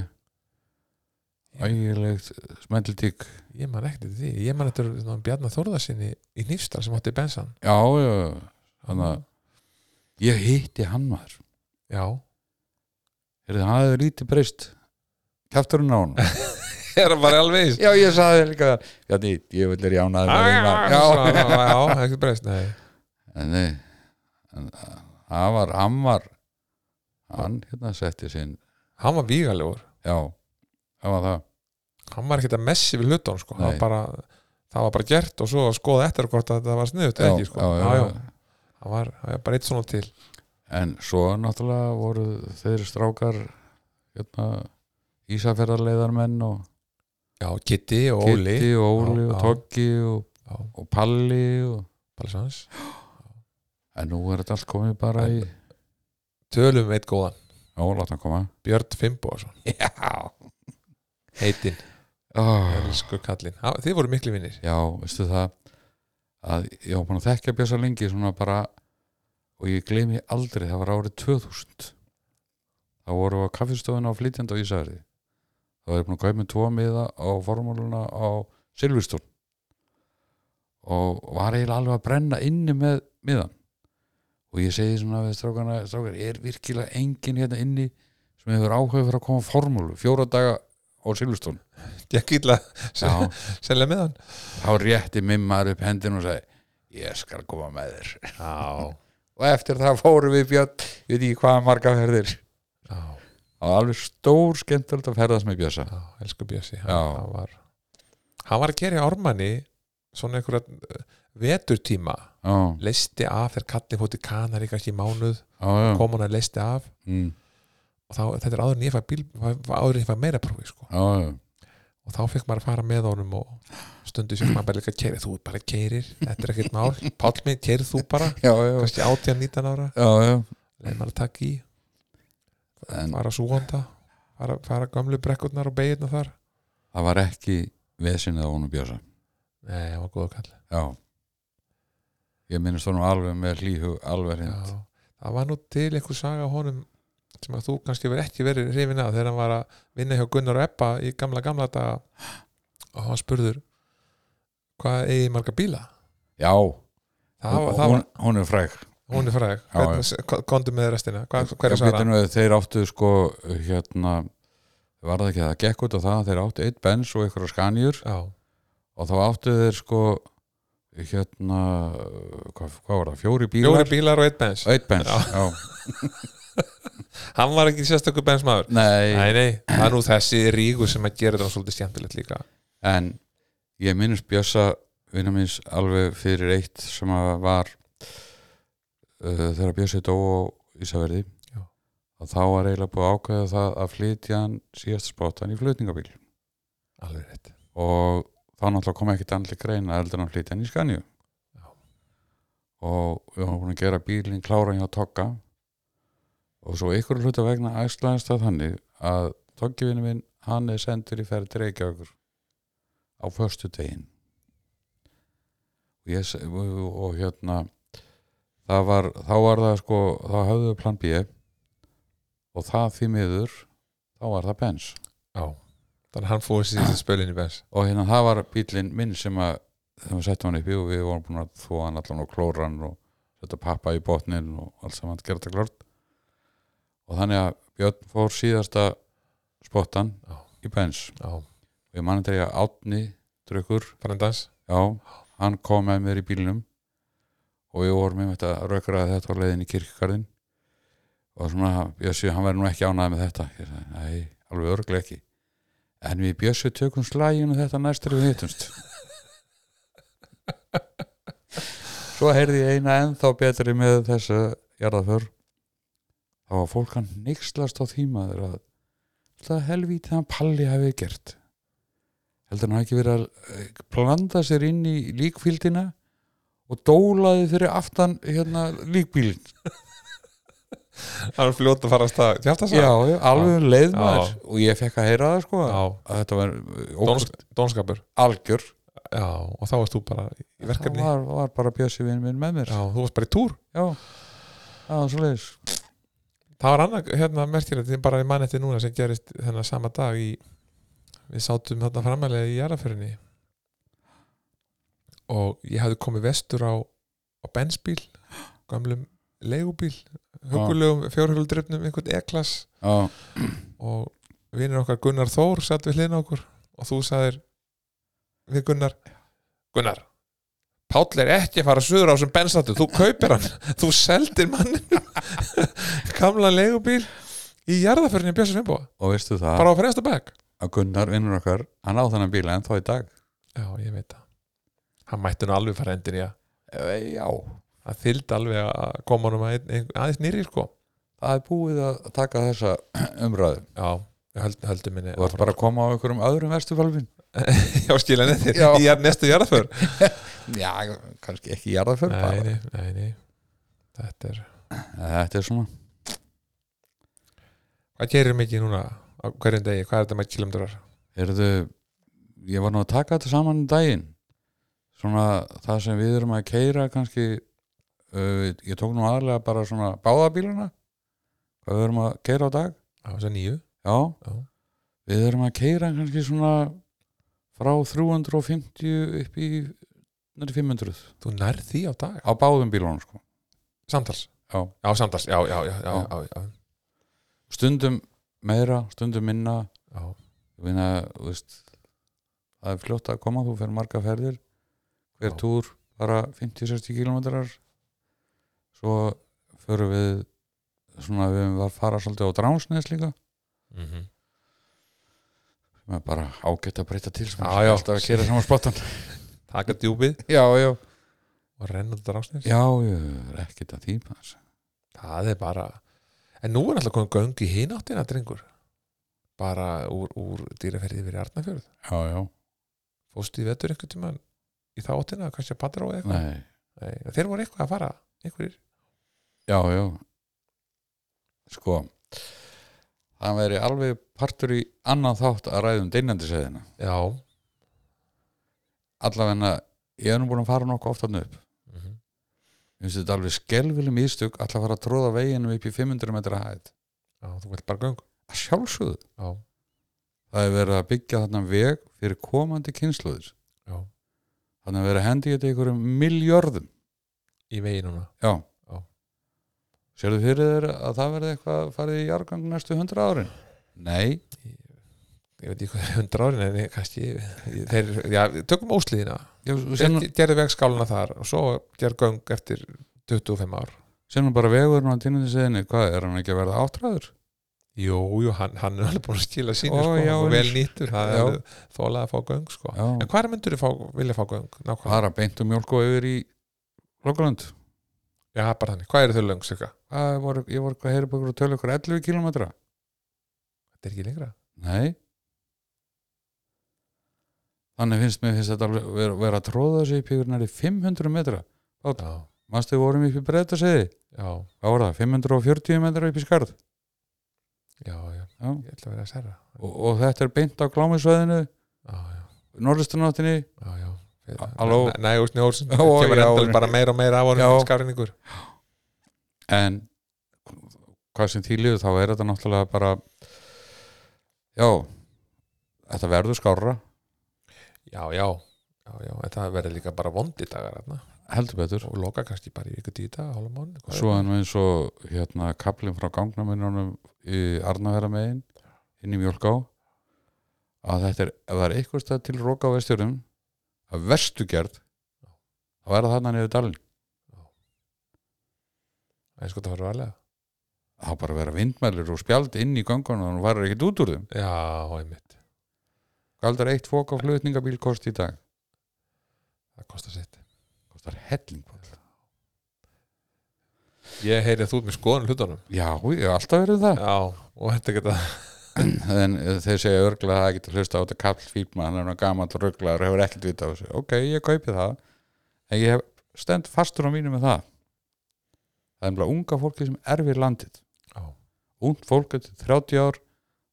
Speaker 2: ægilegt smeldiltík
Speaker 1: ég man ekkert eftir því ég man eftir svona Bjarnar Þórðarsinni í Nýfstal sem átti bensan
Speaker 2: já, já, þannig að ég hitti hann maður
Speaker 1: já,
Speaker 2: er það hafði lítið breyst kjafturinn á hann
Speaker 1: er það bara alveg eins
Speaker 2: já, ég saði líka það Bjarni, ég vil er jánaði með þig, maður.
Speaker 1: já, já, ekkert breyst nei.
Speaker 2: en nei en, a- hann var, hann var hann hérna setti sinn
Speaker 1: hann var vígalegur,
Speaker 2: já, það var það
Speaker 1: hann var ekkert að messi við hlutunum sko.
Speaker 2: Nei.
Speaker 1: hann bara, það var bara gert og svo að skoða eftir hvort að það var sniðut
Speaker 2: Já,
Speaker 1: ekki, sko.
Speaker 2: já, já,
Speaker 1: já,
Speaker 2: já.
Speaker 1: Hann, var, hann var bara eitt svona til
Speaker 2: en svo náttúrulega voru þeir strákar hérna Ísafjörðarleiðarmenn og
Speaker 1: já, Kitty og Óli
Speaker 2: Kitti og Óli
Speaker 1: Já,
Speaker 2: og
Speaker 1: já.
Speaker 2: Toggi og,
Speaker 1: Já.
Speaker 2: og Palli og,
Speaker 1: bara sans.
Speaker 2: en nú er þetta allt komið bara í
Speaker 1: tölum við eitt góðan,
Speaker 2: já, láta hann koma
Speaker 1: Björn Fimboðsson
Speaker 2: já,
Speaker 1: heitinn,
Speaker 2: oh.
Speaker 1: elsku kallinn Hann- þið voru miklu vinnir
Speaker 2: já veistu það að ég var búin að þekkja Bjösa lengi svona bara og ég gleymi aldrei, það var árið 2000 þá vorum við á kaffistofuna á flytjandi á Ísari þá var ég búin að kaupa með tvo miða á formúluna á Silvistón og var eiginlega alveg að brenna inni með miðan og ég segi svona við strákana strákar, er virkilega engin hérna inni sem hefur áhuga fyrir að koma á formúlu fjóra daga á Silvistón
Speaker 1: ég gilla
Speaker 2: já
Speaker 1: selja með hann
Speaker 2: þá rétti mimmar upp hendin og sagði ég skal koma með þér
Speaker 1: já,
Speaker 2: og eftir það fórum við Björn ég veit ekki hvaða marga ferðir
Speaker 1: já,
Speaker 2: það var alveg stór skemmtilegt að ferðast með Bjössa
Speaker 1: já elsku Bjössi hann,
Speaker 2: Já.
Speaker 1: hann, var, hann var að gera í ármanni svona einhverja eh, veturtíma
Speaker 2: já,
Speaker 1: leisti af þegar kallið fótt í kanar í kannski mánuð,
Speaker 2: já, já,
Speaker 1: kom hann að leisti af
Speaker 2: mm,
Speaker 1: og þá, þetta er áður en ég fæ bíl áður en ég fæ meira prófi sko.
Speaker 2: já, já.
Speaker 1: og þá fekk maður að fara með honum og stundu sem maður bara líka keiri þú bara keirir, þetta er ekkert mál Páll minn, keiri þú bara,
Speaker 2: já, já,
Speaker 1: kannski 18-19 ára
Speaker 2: já, já.
Speaker 1: leið maður að taka í,
Speaker 2: en
Speaker 1: fara súhanda fara, fara gamlu brekkurnar og beginna þar
Speaker 2: það var ekki vesinnið á honum Bjössa
Speaker 1: nei, það var góða kall
Speaker 2: já ég minnist honum alveg með hlýhug alveg hreint
Speaker 1: Já, það var nú til einhver saga á honum sem að þú kannski verið ekki verið hrifin að þegar hann var að vinna hjá Gunnar og Ebba í gamla gamla daga og hann var spurður hvað eigi marga bíla
Speaker 2: já,
Speaker 1: það var, það
Speaker 2: hún,
Speaker 1: var,
Speaker 2: hún er fræk
Speaker 1: hún er fræg
Speaker 2: Já,
Speaker 1: Hvernig- komdu með restina, hvað,
Speaker 2: Já,
Speaker 1: hver er
Speaker 2: býttu
Speaker 1: svara
Speaker 2: nú, þeir áttu sko hérna var það ekki það gekk út á það að þeir áttu eitt bens og einhverja skanjur
Speaker 1: já,
Speaker 2: og þá áttu þeir sko hérna hvað, hvað var það, fjóri bílar
Speaker 1: fjóri bílar og eitt bens
Speaker 2: og eitt bens,
Speaker 1: Já.
Speaker 2: já,
Speaker 1: hann var ekki sérstökur bensmaður
Speaker 2: nei,
Speaker 1: nei, nei, það er nú þessi rígu sem að gera það svolítið skemmtilegt líka
Speaker 2: en ég minnist Bjössa vinna minns alveg fyrir eitt sem að var uh, þegar Bjössi dó á Ísaverði
Speaker 1: Já.
Speaker 2: og þá var eiginlega búið að ákveða það að flytja hann síðast spottan í flutningabíl
Speaker 1: alveg rétt
Speaker 2: og þá náttúrulega kom ekkit andli greina eldur hann flytja hann í Skanju
Speaker 1: Já.
Speaker 2: og við varum búin að gera bílinn kláran hjá Togga og svo ykkur hluta vegna æslaðist það þannig að Toggivinni minn hann er sendur í ferð til Reykjavíkur á föstu degin og, ég, s- og, og hérna það var, þá var það sko þá höfðu við plan B og það því miður þá var það bens
Speaker 1: já, þannig að hann fóði sér spölin í bens
Speaker 2: og hérna það var bílinn minn sem að þegar við settum hann upp í og við vorum búin að þóa hann allan og klóra hann og setja pappa í botnin og allt saman gera þetta klart og þannig að Björn fór síðasta spottan
Speaker 1: Já.
Speaker 2: í bens
Speaker 1: já,
Speaker 2: og ég mann að þegar átni drukkur,
Speaker 1: farendans
Speaker 2: já, hann kom með mér í bílnum og við vorum með þetta rökra að þetta var leiðin í kirkjarðin og svona, Bjössi, hann verður nú ekki ánæði með þetta ég sagði, nei, alveg örglega ekki en við Bjössi tökum slæginu þetta næstur við hittumst svo heyrði ég eina ennþá betri með þessu jarðaför þá var fólk hann nixlast á þýmaður að það helvítið hann Palli hafi gert heldur hann hafi ekki verið að eh, blanda sér inn í líkfíldina og dólaði fyrir aftan hérna líkbílin
Speaker 1: hann er fljótt að fara að stað Þið haft það
Speaker 2: já, já, alveg um leið
Speaker 1: Já.
Speaker 2: maður og ég fekk að heyra það sko
Speaker 1: já,
Speaker 2: að þetta var
Speaker 1: Dóns, dónskapur
Speaker 2: algjör
Speaker 1: Já, og þá varst þú bara í
Speaker 2: það
Speaker 1: verkefni
Speaker 2: var, var bara Bjössi vinn minn með mér
Speaker 1: Já, þú varst bara í túr
Speaker 2: já, það var svo leiðis
Speaker 1: Það var annað, hérna, merkilegt, þið bara í mannetti núna sem gerist þennan sama dag í við sátum þarna framalega í jarðaförinni og ég hafði komið vestur á, á bensbíl gamlum leigubíl hugulegum fjórhjóldrifnum einhvern eklas
Speaker 2: já,
Speaker 1: og vinnir okkar Gunnar Þór satt við hliðin okkur og þú sagðir við Gunnar Gunnar, Páll er ekki að fara suður á sem bensáttu, þú kaupir hann þú seldir mannin gamla leigubíl í jarðaförinni Bjössu Sveinbóa,
Speaker 2: og veistu það
Speaker 1: bara á fremsta bæk
Speaker 2: að Gunnar vinnur okkar, hann á þennan bíla en þá í dag
Speaker 1: Já, ég veit það Hann mætti nú alveg fara endin í að
Speaker 2: e, já,
Speaker 1: það þyldi alveg að koma hann að, einn- einn- aðeins nýri sko
Speaker 2: það er búið að taka þessa umræðu
Speaker 1: Já, við höld, höldum minni
Speaker 2: þú ert bara að koma á einhverjum öðrum vestufalvin
Speaker 1: Já, skilja henni þér
Speaker 2: Já.
Speaker 1: í jar- næstu jarðaför
Speaker 2: já, kannski ekki jarðaför
Speaker 1: nei, nei, nei, nei Þetta er
Speaker 2: þetta er svona
Speaker 1: Hvað gerir mikið núna á hverjum degi? Hvað er þetta með kilomdrar?
Speaker 2: Erðu, ég var nú að taka þetta saman um daginn svona það sem við erum að keira kannski uh, ég tók nú aðlega bara svona báðabíluna hvað við erum að keira á dag
Speaker 1: Á þess að nýju
Speaker 2: já,
Speaker 1: Já.
Speaker 2: við erum að keira kannski svona frá 350 upp í nær 500
Speaker 1: Þú nærð því á dag
Speaker 2: á báðum bílunum sko
Speaker 1: Samtals
Speaker 2: Já.
Speaker 1: Já, samtals, já, já, já, já,
Speaker 2: Já.
Speaker 1: já, já,
Speaker 2: stundum meira, stundum minna
Speaker 1: já.
Speaker 2: Ég meina, þú veist, það er fljótt að koma, þú fer marga ferðir hver
Speaker 1: Já.
Speaker 2: túr bara 50-60 kilometrar svo förum við svona við höfum var að fara svolítið á dránsnes líka
Speaker 1: Mm -hmm.
Speaker 2: sem er bara ágætt að breyta til sem
Speaker 1: Já, já.
Speaker 2: alltaf að kera saman spottan
Speaker 1: Taka djúpið
Speaker 2: já, já,
Speaker 1: og renna þetta rásnir
Speaker 2: já, já ekkert að tíma þess
Speaker 1: Það er bara En nú er alltaf komin göng í hináttina, drengur Bara úr, úr dýraferðið fyrir Arnafjörð
Speaker 2: já, já,
Speaker 1: Fóstu í vetur einhvern tímann í þá áttina, kannski að Patró eða eitthvað
Speaker 2: nei,
Speaker 1: Nei, Þeir voru eitthvað að fara, einhverjir
Speaker 2: já, já sko það veri alveg partur í annan þátt að um ræðum dynjandisæðina
Speaker 1: Já
Speaker 2: allavegna, ég er nú búin að fara nokkuð oft hann upp
Speaker 1: mm -hmm.
Speaker 2: Mér finnst þetta alveg skelvileg mistök alltaf að fara að tróða veginum upp í 500 metra hæð
Speaker 1: Já, þú vilt bara göng
Speaker 2: að sjálfsögðu
Speaker 1: Já,
Speaker 2: það er verið að byggja þarna veg fyrir komandi kynsluðir
Speaker 1: já,
Speaker 2: þannig að vera að hendi þetta einhverjum miljörðum
Speaker 1: í vegi núna
Speaker 2: já,
Speaker 1: Já.
Speaker 2: sérðu fyrir þér að það verði eitthvað að farið í jargang næstu 100 árin nei,
Speaker 1: Ég veit ekki hvað er hundra árin en ég- kannski þeir, Já, tökum ósliðina
Speaker 2: ég, sem,
Speaker 1: Þeir gerðu vegskáluna þar og svo gerðu göng eftir 25 ár
Speaker 2: sem nú bara vegurinn á dýnandi seðinni, hvað er hann ekki að verða áttræður
Speaker 1: Jú, jú, hann, hann er alveg búin að skila sínu
Speaker 2: Ó,
Speaker 1: sko,
Speaker 2: já,
Speaker 1: og vel
Speaker 2: eins.
Speaker 1: nýttur, það
Speaker 2: Já.
Speaker 1: er þólega að fá göng sko.
Speaker 2: Já.
Speaker 1: En hvað myndur þú fá, vilja fá göng? Nákvæmlega?
Speaker 2: bara beint um mjólku yfir í Lokaland
Speaker 1: Já, bara þannig, hvað eru þau löng cirka?
Speaker 2: ég var eitthvað að heyra búin að tölu ykkur 11 kilometra
Speaker 1: Þetta er ekki lengra
Speaker 2: Nei Þannig finnst mér finnst þetta alveg vera, vera að tróða sig upp yfir næri 500 metra
Speaker 1: Já,
Speaker 2: Manstu við vorum upp í breytasegi
Speaker 1: já,
Speaker 2: Hvað var það? 540 metra upp í skarð
Speaker 1: já, já.
Speaker 2: Já.
Speaker 1: Ég ætla að vera að serra
Speaker 2: og, og þetta er beint á glámisvæðinu
Speaker 1: Já, já,
Speaker 2: Norðustunáttinni
Speaker 1: já, já
Speaker 2: A- halló?
Speaker 1: Næ, úr snjór sem
Speaker 2: Já,
Speaker 1: kemur
Speaker 2: já,
Speaker 1: endalega
Speaker 2: já.
Speaker 1: bara meira og meira af
Speaker 2: Já.
Speaker 1: honum skafrinningur
Speaker 2: En hvað sem því liður þá er þetta náttúrulega bara Já Þetta verður skárra
Speaker 1: Já, já, já, já, en það verður líka bara vondi dagar þarna
Speaker 2: heldur betur
Speaker 1: og loka kannski bara í viku tíu dag, hálfum mánu
Speaker 2: Svo er nú eins og hérna kaplinn frá gangnamununum í Arnaverða megin inn í Mjölká að þetta er, ef það er eitthvað stað til roka á vestjörum að verstu gerð þá er það þarna niður dalinn
Speaker 1: En sko það var varlega
Speaker 2: þá bara vera vindmælur og spjald inn í gangunum og hún varir ekkert út úr þeim
Speaker 1: Já, einmitt,
Speaker 2: galdar eitt fók á flutningabíl kost í dag
Speaker 1: það kostar sitt
Speaker 2: kostar helling Páll.
Speaker 1: Ég heyri að þú ert með skoðan hlutunum
Speaker 2: já, ég hef alltaf verið það
Speaker 1: Já, og þetta geta
Speaker 2: en eh, þeir segja örglega að það getur hlusta á þetta kall fílma, hann er nú gamall og rögglaður og hefur ekkert vita á þessu, ok, ég kaupi það en ég hef stend fastur á mínu með það það er umlega unga fólki sem erfir landið
Speaker 1: Já.
Speaker 2: ungt fólk til 30 ár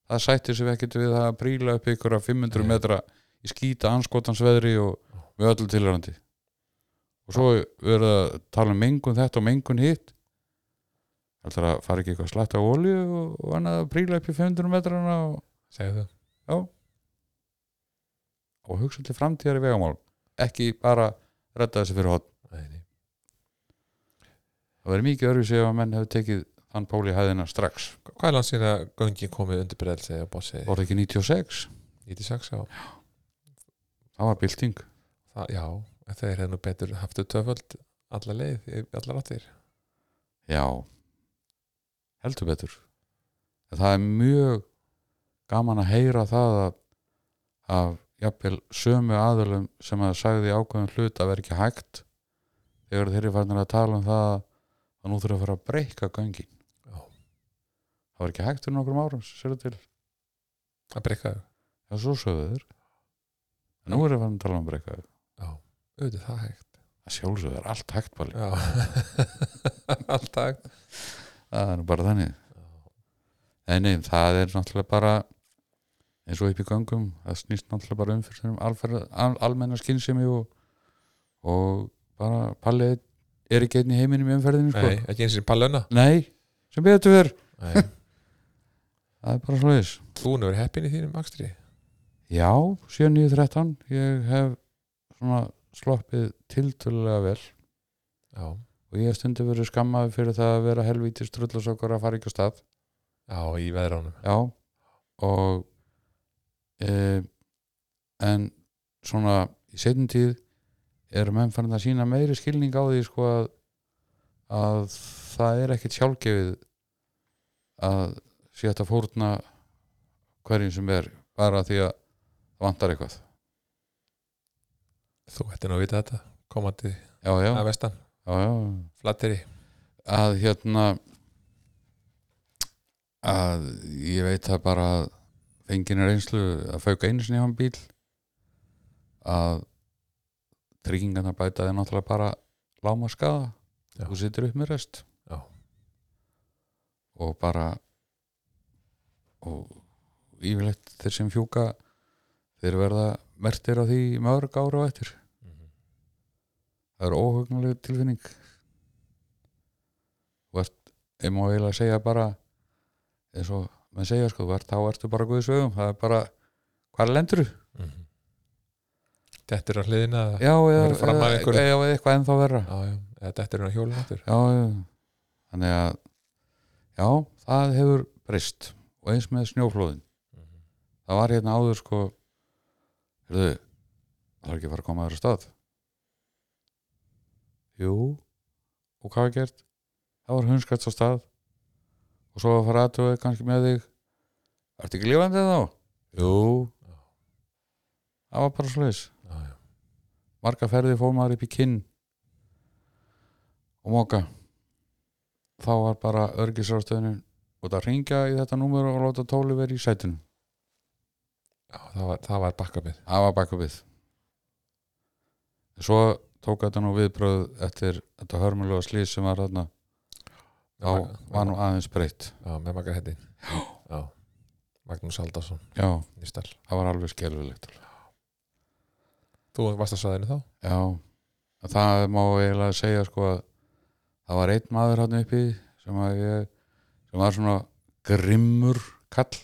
Speaker 2: það sættir sem ekkert við það að príla upp ykkur að 500
Speaker 1: Nei.
Speaker 2: metra í skýta anskotansveðri og með öllu tilhörandi og svo verður að tala um mengun þetta og mengun hitt heldur að fara ekki eitthvað slætt á olju og, og annað að príla upp í 500 metrana og
Speaker 1: Segðu þú
Speaker 2: Já. og hugsa um til framtíðar í vegamál ekki bara redda þessi fyrir hot
Speaker 1: Nei, nei.
Speaker 2: það verður mikið örfis ef að menn hefur tekið þann pól í hæðina strax
Speaker 1: Hva- Hvað er langt síðan að göngin komið undir breyðalsið og bóðsið?
Speaker 2: voru ekki 96,
Speaker 1: 96 á
Speaker 2: það var bylting
Speaker 1: það, Já, en þeir hefðu nú betur haftu töföld alla leið, í allar áttir
Speaker 2: já heldur betur en það er mjög gaman að heyra það að, að jafnvel sömu aðlum sem að sagði í ákveðum hlut að vera ekki hægt þegar þeir eru farnir að tala um það að nú þurfa að fara að breyka göngin
Speaker 1: Já.
Speaker 2: það var ekki hægt fyrir nokkrum árum sér til,
Speaker 1: að breykaðu,
Speaker 2: já svo sögðu þeir en nú eru farnir að tala um að breyka
Speaker 1: auðvitað það hægt
Speaker 2: að sjálfsögðu er allt hægt bali
Speaker 1: Já, allt hægt
Speaker 2: það er nú bara þannig Nei, nei, það er náttúrulega bara eins og upp í gangum það snýst náttúrulega bara um fyrir þeim alferð, al, almenna skynsemi og, og bara Palli einn- er ekki einn í heiminum í umferðinu sko.
Speaker 1: Nei, ekki eins og palluna
Speaker 2: nei, sem betur verð
Speaker 1: Nei.
Speaker 2: það er bara svoleiðis
Speaker 1: Þú nú er heppin í þínum akstri
Speaker 2: já, 7.9.13 ég hef svona sloppið tiltölulega vel
Speaker 1: Já,
Speaker 2: og ég hef stundum verið skammaði fyrir það að vera helvítis trullasokkur að fara ekki á stað
Speaker 1: já í veðránum
Speaker 2: Já og e, en svona í setjum tíð eru menn farin að sína meiri skilning á því sko að, að það er ekkit sjálfgefið að sé þetta fórna hverjum sem er bara því að það vantar eitthvað
Speaker 1: Þú ætti nú að vita þetta, komandi
Speaker 2: já, já,
Speaker 1: að vestan,
Speaker 2: já, já
Speaker 1: flatteri
Speaker 2: að hérna að ég veit það bara að fengin er einslu að fauka einu sinni á hann bíl að tryggingarna bæta er náttúrulega bara láma skada
Speaker 1: Já.
Speaker 2: þú situr upp með rest
Speaker 1: Já.
Speaker 2: og bara og yfirleitt þeir sem fjúka þeir verða mertir á því í mörg ára og eftir það er óhugnuleg tilfinning þú ert, ég má eiginlega segja bara eins og menn segja sko, þú ert, þá ertu bara guðis vegum það er bara, hvað lendur
Speaker 1: Mhm. Þetta er á hliðina eða-
Speaker 2: já, eða,
Speaker 1: verður fram af
Speaker 2: eða,
Speaker 1: einhverju.
Speaker 2: eða, eða eitthvað ennþá verra
Speaker 1: Já, já, eða þetta er á hjólum áttur
Speaker 2: já, já. þannig að já, það hefur breyst og eins með snjóflóðin það var hérna áður sko heyrðu, það er ekki að fara að koma aðra stað jú og hvað var gert það var hundskvæts á stað og svo var að fara aðtöðu kannski með þig ertu ekki lífandi þá? jú það var bara svoleiðis
Speaker 1: Já, já.
Speaker 2: marga ferði fór maður upp í kinn og móka þá var bara örgisrástöðunin og það ringja í þetta númer og láta tóli verið í sætinu
Speaker 1: Já, það var, það var bakkabið
Speaker 2: það var bakkupið svo tók þetta nú viðbröð eftir þetta hörmulega slýs sem var þarna þá var nú aðeins breytt
Speaker 1: Já, með makar hettin Já, Magnús Aldarsson,
Speaker 2: já,
Speaker 1: nýstall
Speaker 2: það var alveg skelfilegt
Speaker 1: Þú varst að svaðinu þá?
Speaker 2: já, en það má eiginlega segja sko að það var einn maður hann uppi sem, að ég, sem var svona grimmur kall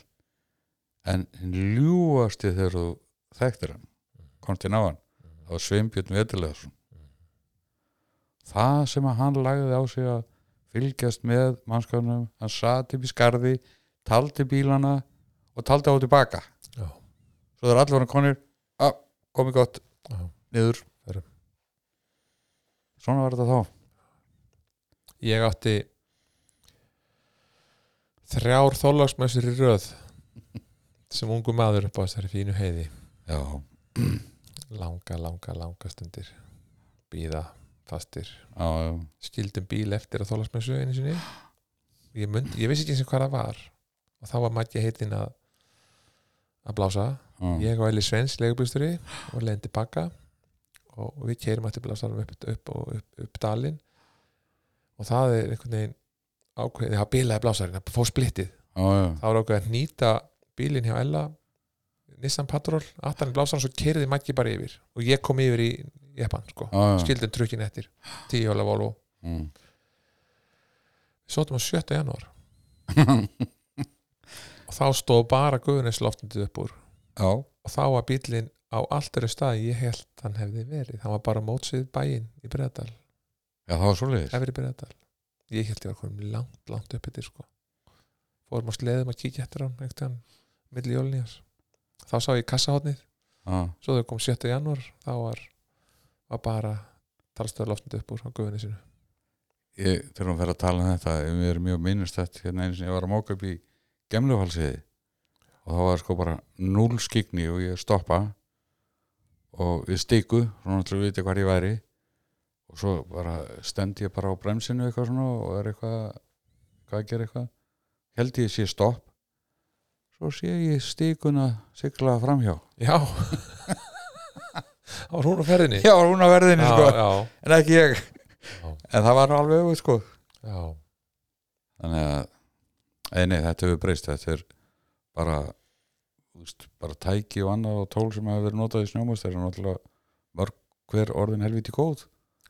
Speaker 2: en hinn ljúasti þegar þú þekktir hann komst inn á hann
Speaker 1: Mhm.
Speaker 2: það var Sveinbjörn Vetulegarsson það sem að hann lagði á sig að fylgjast með mannskapunum, hann sat upp í skarði taldi bílana og taldi á tilbaka
Speaker 1: Já.
Speaker 2: svo það er allir hann konir að, komið gott,
Speaker 1: Já.
Speaker 2: niður
Speaker 1: Förum.
Speaker 2: svona var þetta þá
Speaker 1: Ég átti þrjár þólagsmessur í röð sem ungu maður upp á þessari fínu heiði
Speaker 2: já,
Speaker 1: langa, langa, langa stundir býða, fastir
Speaker 2: já, já,
Speaker 1: skildum bíl eftir að þólagsmessu einu sinni ég, mynd, ég vissi ekki eins og hvað það var og þá var Maggi heitin að að blása
Speaker 2: já.
Speaker 1: ég og Eli Svens leigubílstjóri og leiðin tilbaka og við keirum eftir blástarum upp, upp, og upp, upp dalinn og það er einhvern veginn ákveðið, það bilaði blásarinn, það fór splittið
Speaker 2: já, já.
Speaker 1: það var ákveðið að nýta bílinn hjá Ella Nissan Patrol, aftan í blásarinn svo keiriði Maggi bara yfir og ég kom yfir í Japan, sko,
Speaker 2: já, já.
Speaker 1: skildum trukkin eftir tíu hjóla Volvo,
Speaker 2: Mm.
Speaker 1: við sótum á 7. janúar og þá stóð bara guðunisloftundið upp úr
Speaker 2: já,
Speaker 1: og þá var bílinn á allt eru stað ég held hann hefði verið hann var bara mótsið bæinn í Breðadal
Speaker 2: Já, það var svoleiðis.
Speaker 1: efri Breðadal ég held ég var komum langt, langt upp yfir sko. fórum á sleðum að kíkja eftir hann einhvern veginn, milli jólnýjar þá sá ég kassahotnið
Speaker 2: Já,
Speaker 1: svo þau kom 7. janúar þá var, var bara talstöður loftnandi upp úr á guðinni sinu
Speaker 2: ég þurfum að vera að tala um þetta ef við erum mjög minnustætt hérna einu sinni ég var að móka upp í gemlufalsiði og þá var sko bara núl skikni og ég stoppa og við stiku svona til að vita hvað ég væri og svo bara stend ég bara á bremsinu eitthvað svona og er eitthvað hvað að gera eitthvað held ég sé stopp svo sé ég stikuna sigla framhjá
Speaker 1: já þá var hún á ferðinni
Speaker 2: já, hún á verðinu
Speaker 1: já,
Speaker 2: sko
Speaker 1: já,
Speaker 2: en ekki ég
Speaker 1: Já.
Speaker 2: en það var nú alveg öfugt sko
Speaker 1: já.
Speaker 2: þannig að eða nei, þetta hefur breyst þetta er bara úst, bara tæki og annað og tól sem hefur verið notað í snjómast er náttúrulega mörg hver orðin helviti góð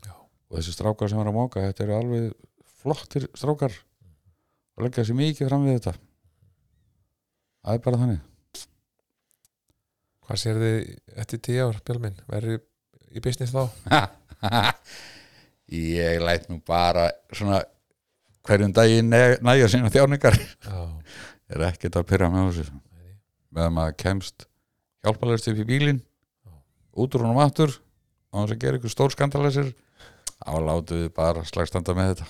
Speaker 1: Já.
Speaker 2: og þessi strákar sem er að móka þetta eru alveg flottir strákar og leggja sér mikið fram við þetta það er bara þannig
Speaker 1: hvað sér þið eftir tíu ár Bjálmin, verður í business þá
Speaker 2: ég læt nú bara svona hverjum daginn næ- nægja sína þjáningar
Speaker 1: já,
Speaker 2: er ekkert að pyrra með þessu
Speaker 1: Nei.
Speaker 2: meðan maður kemst hjálpalegst upp í bílinn
Speaker 1: Já.
Speaker 2: út úr honum aftur á þess að gera ykkur stór skandalæsir þá látu við bara slagstanda með þetta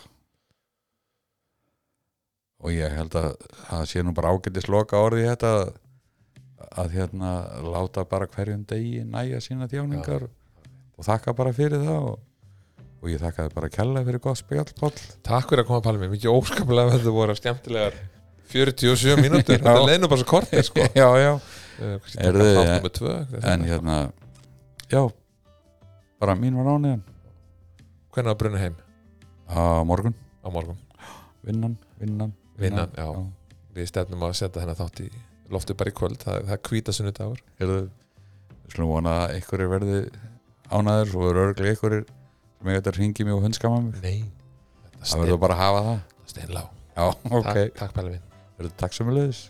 Speaker 2: og ég held að það sé nú bara ágætis loka orði þetta að, að hérna láta bara hverjum degi næja sína þjáningar og þakka bara fyrir það og, og ég þakkaði bara kella fyrir gott spjall Páll
Speaker 1: takk fyrir að koma Pálmi, mikið óskaplega þetta voru skemmtilegar 47 mínútur,
Speaker 2: Já.
Speaker 1: þetta leið nú bara svo kortir sko.
Speaker 2: já, já
Speaker 1: Eh, kannski
Speaker 2: Er
Speaker 1: taka
Speaker 2: þið-
Speaker 1: þátt númer tvö,
Speaker 2: en
Speaker 1: þetta.
Speaker 2: hérna já, bara mín var ánæðan
Speaker 1: hvenær var brunni heim
Speaker 2: á morgun,
Speaker 1: á morgun,
Speaker 2: vinnan, vinnan
Speaker 1: Vinnan, já. við stefnum að setja þennan þátt í loftið bara í kvöld, það, það kvíta sunnudagur
Speaker 2: Heyrðu, við slum vona að einhverjir verði ánæður svo eru örglega einhverjir sem ég þetta ringi mig og hundskama mig
Speaker 1: nei, þetta
Speaker 2: það verður bara að hafa það
Speaker 1: steinlá
Speaker 2: já, ok,
Speaker 1: takk, takk Pálmi
Speaker 2: verður takk sem við leiðis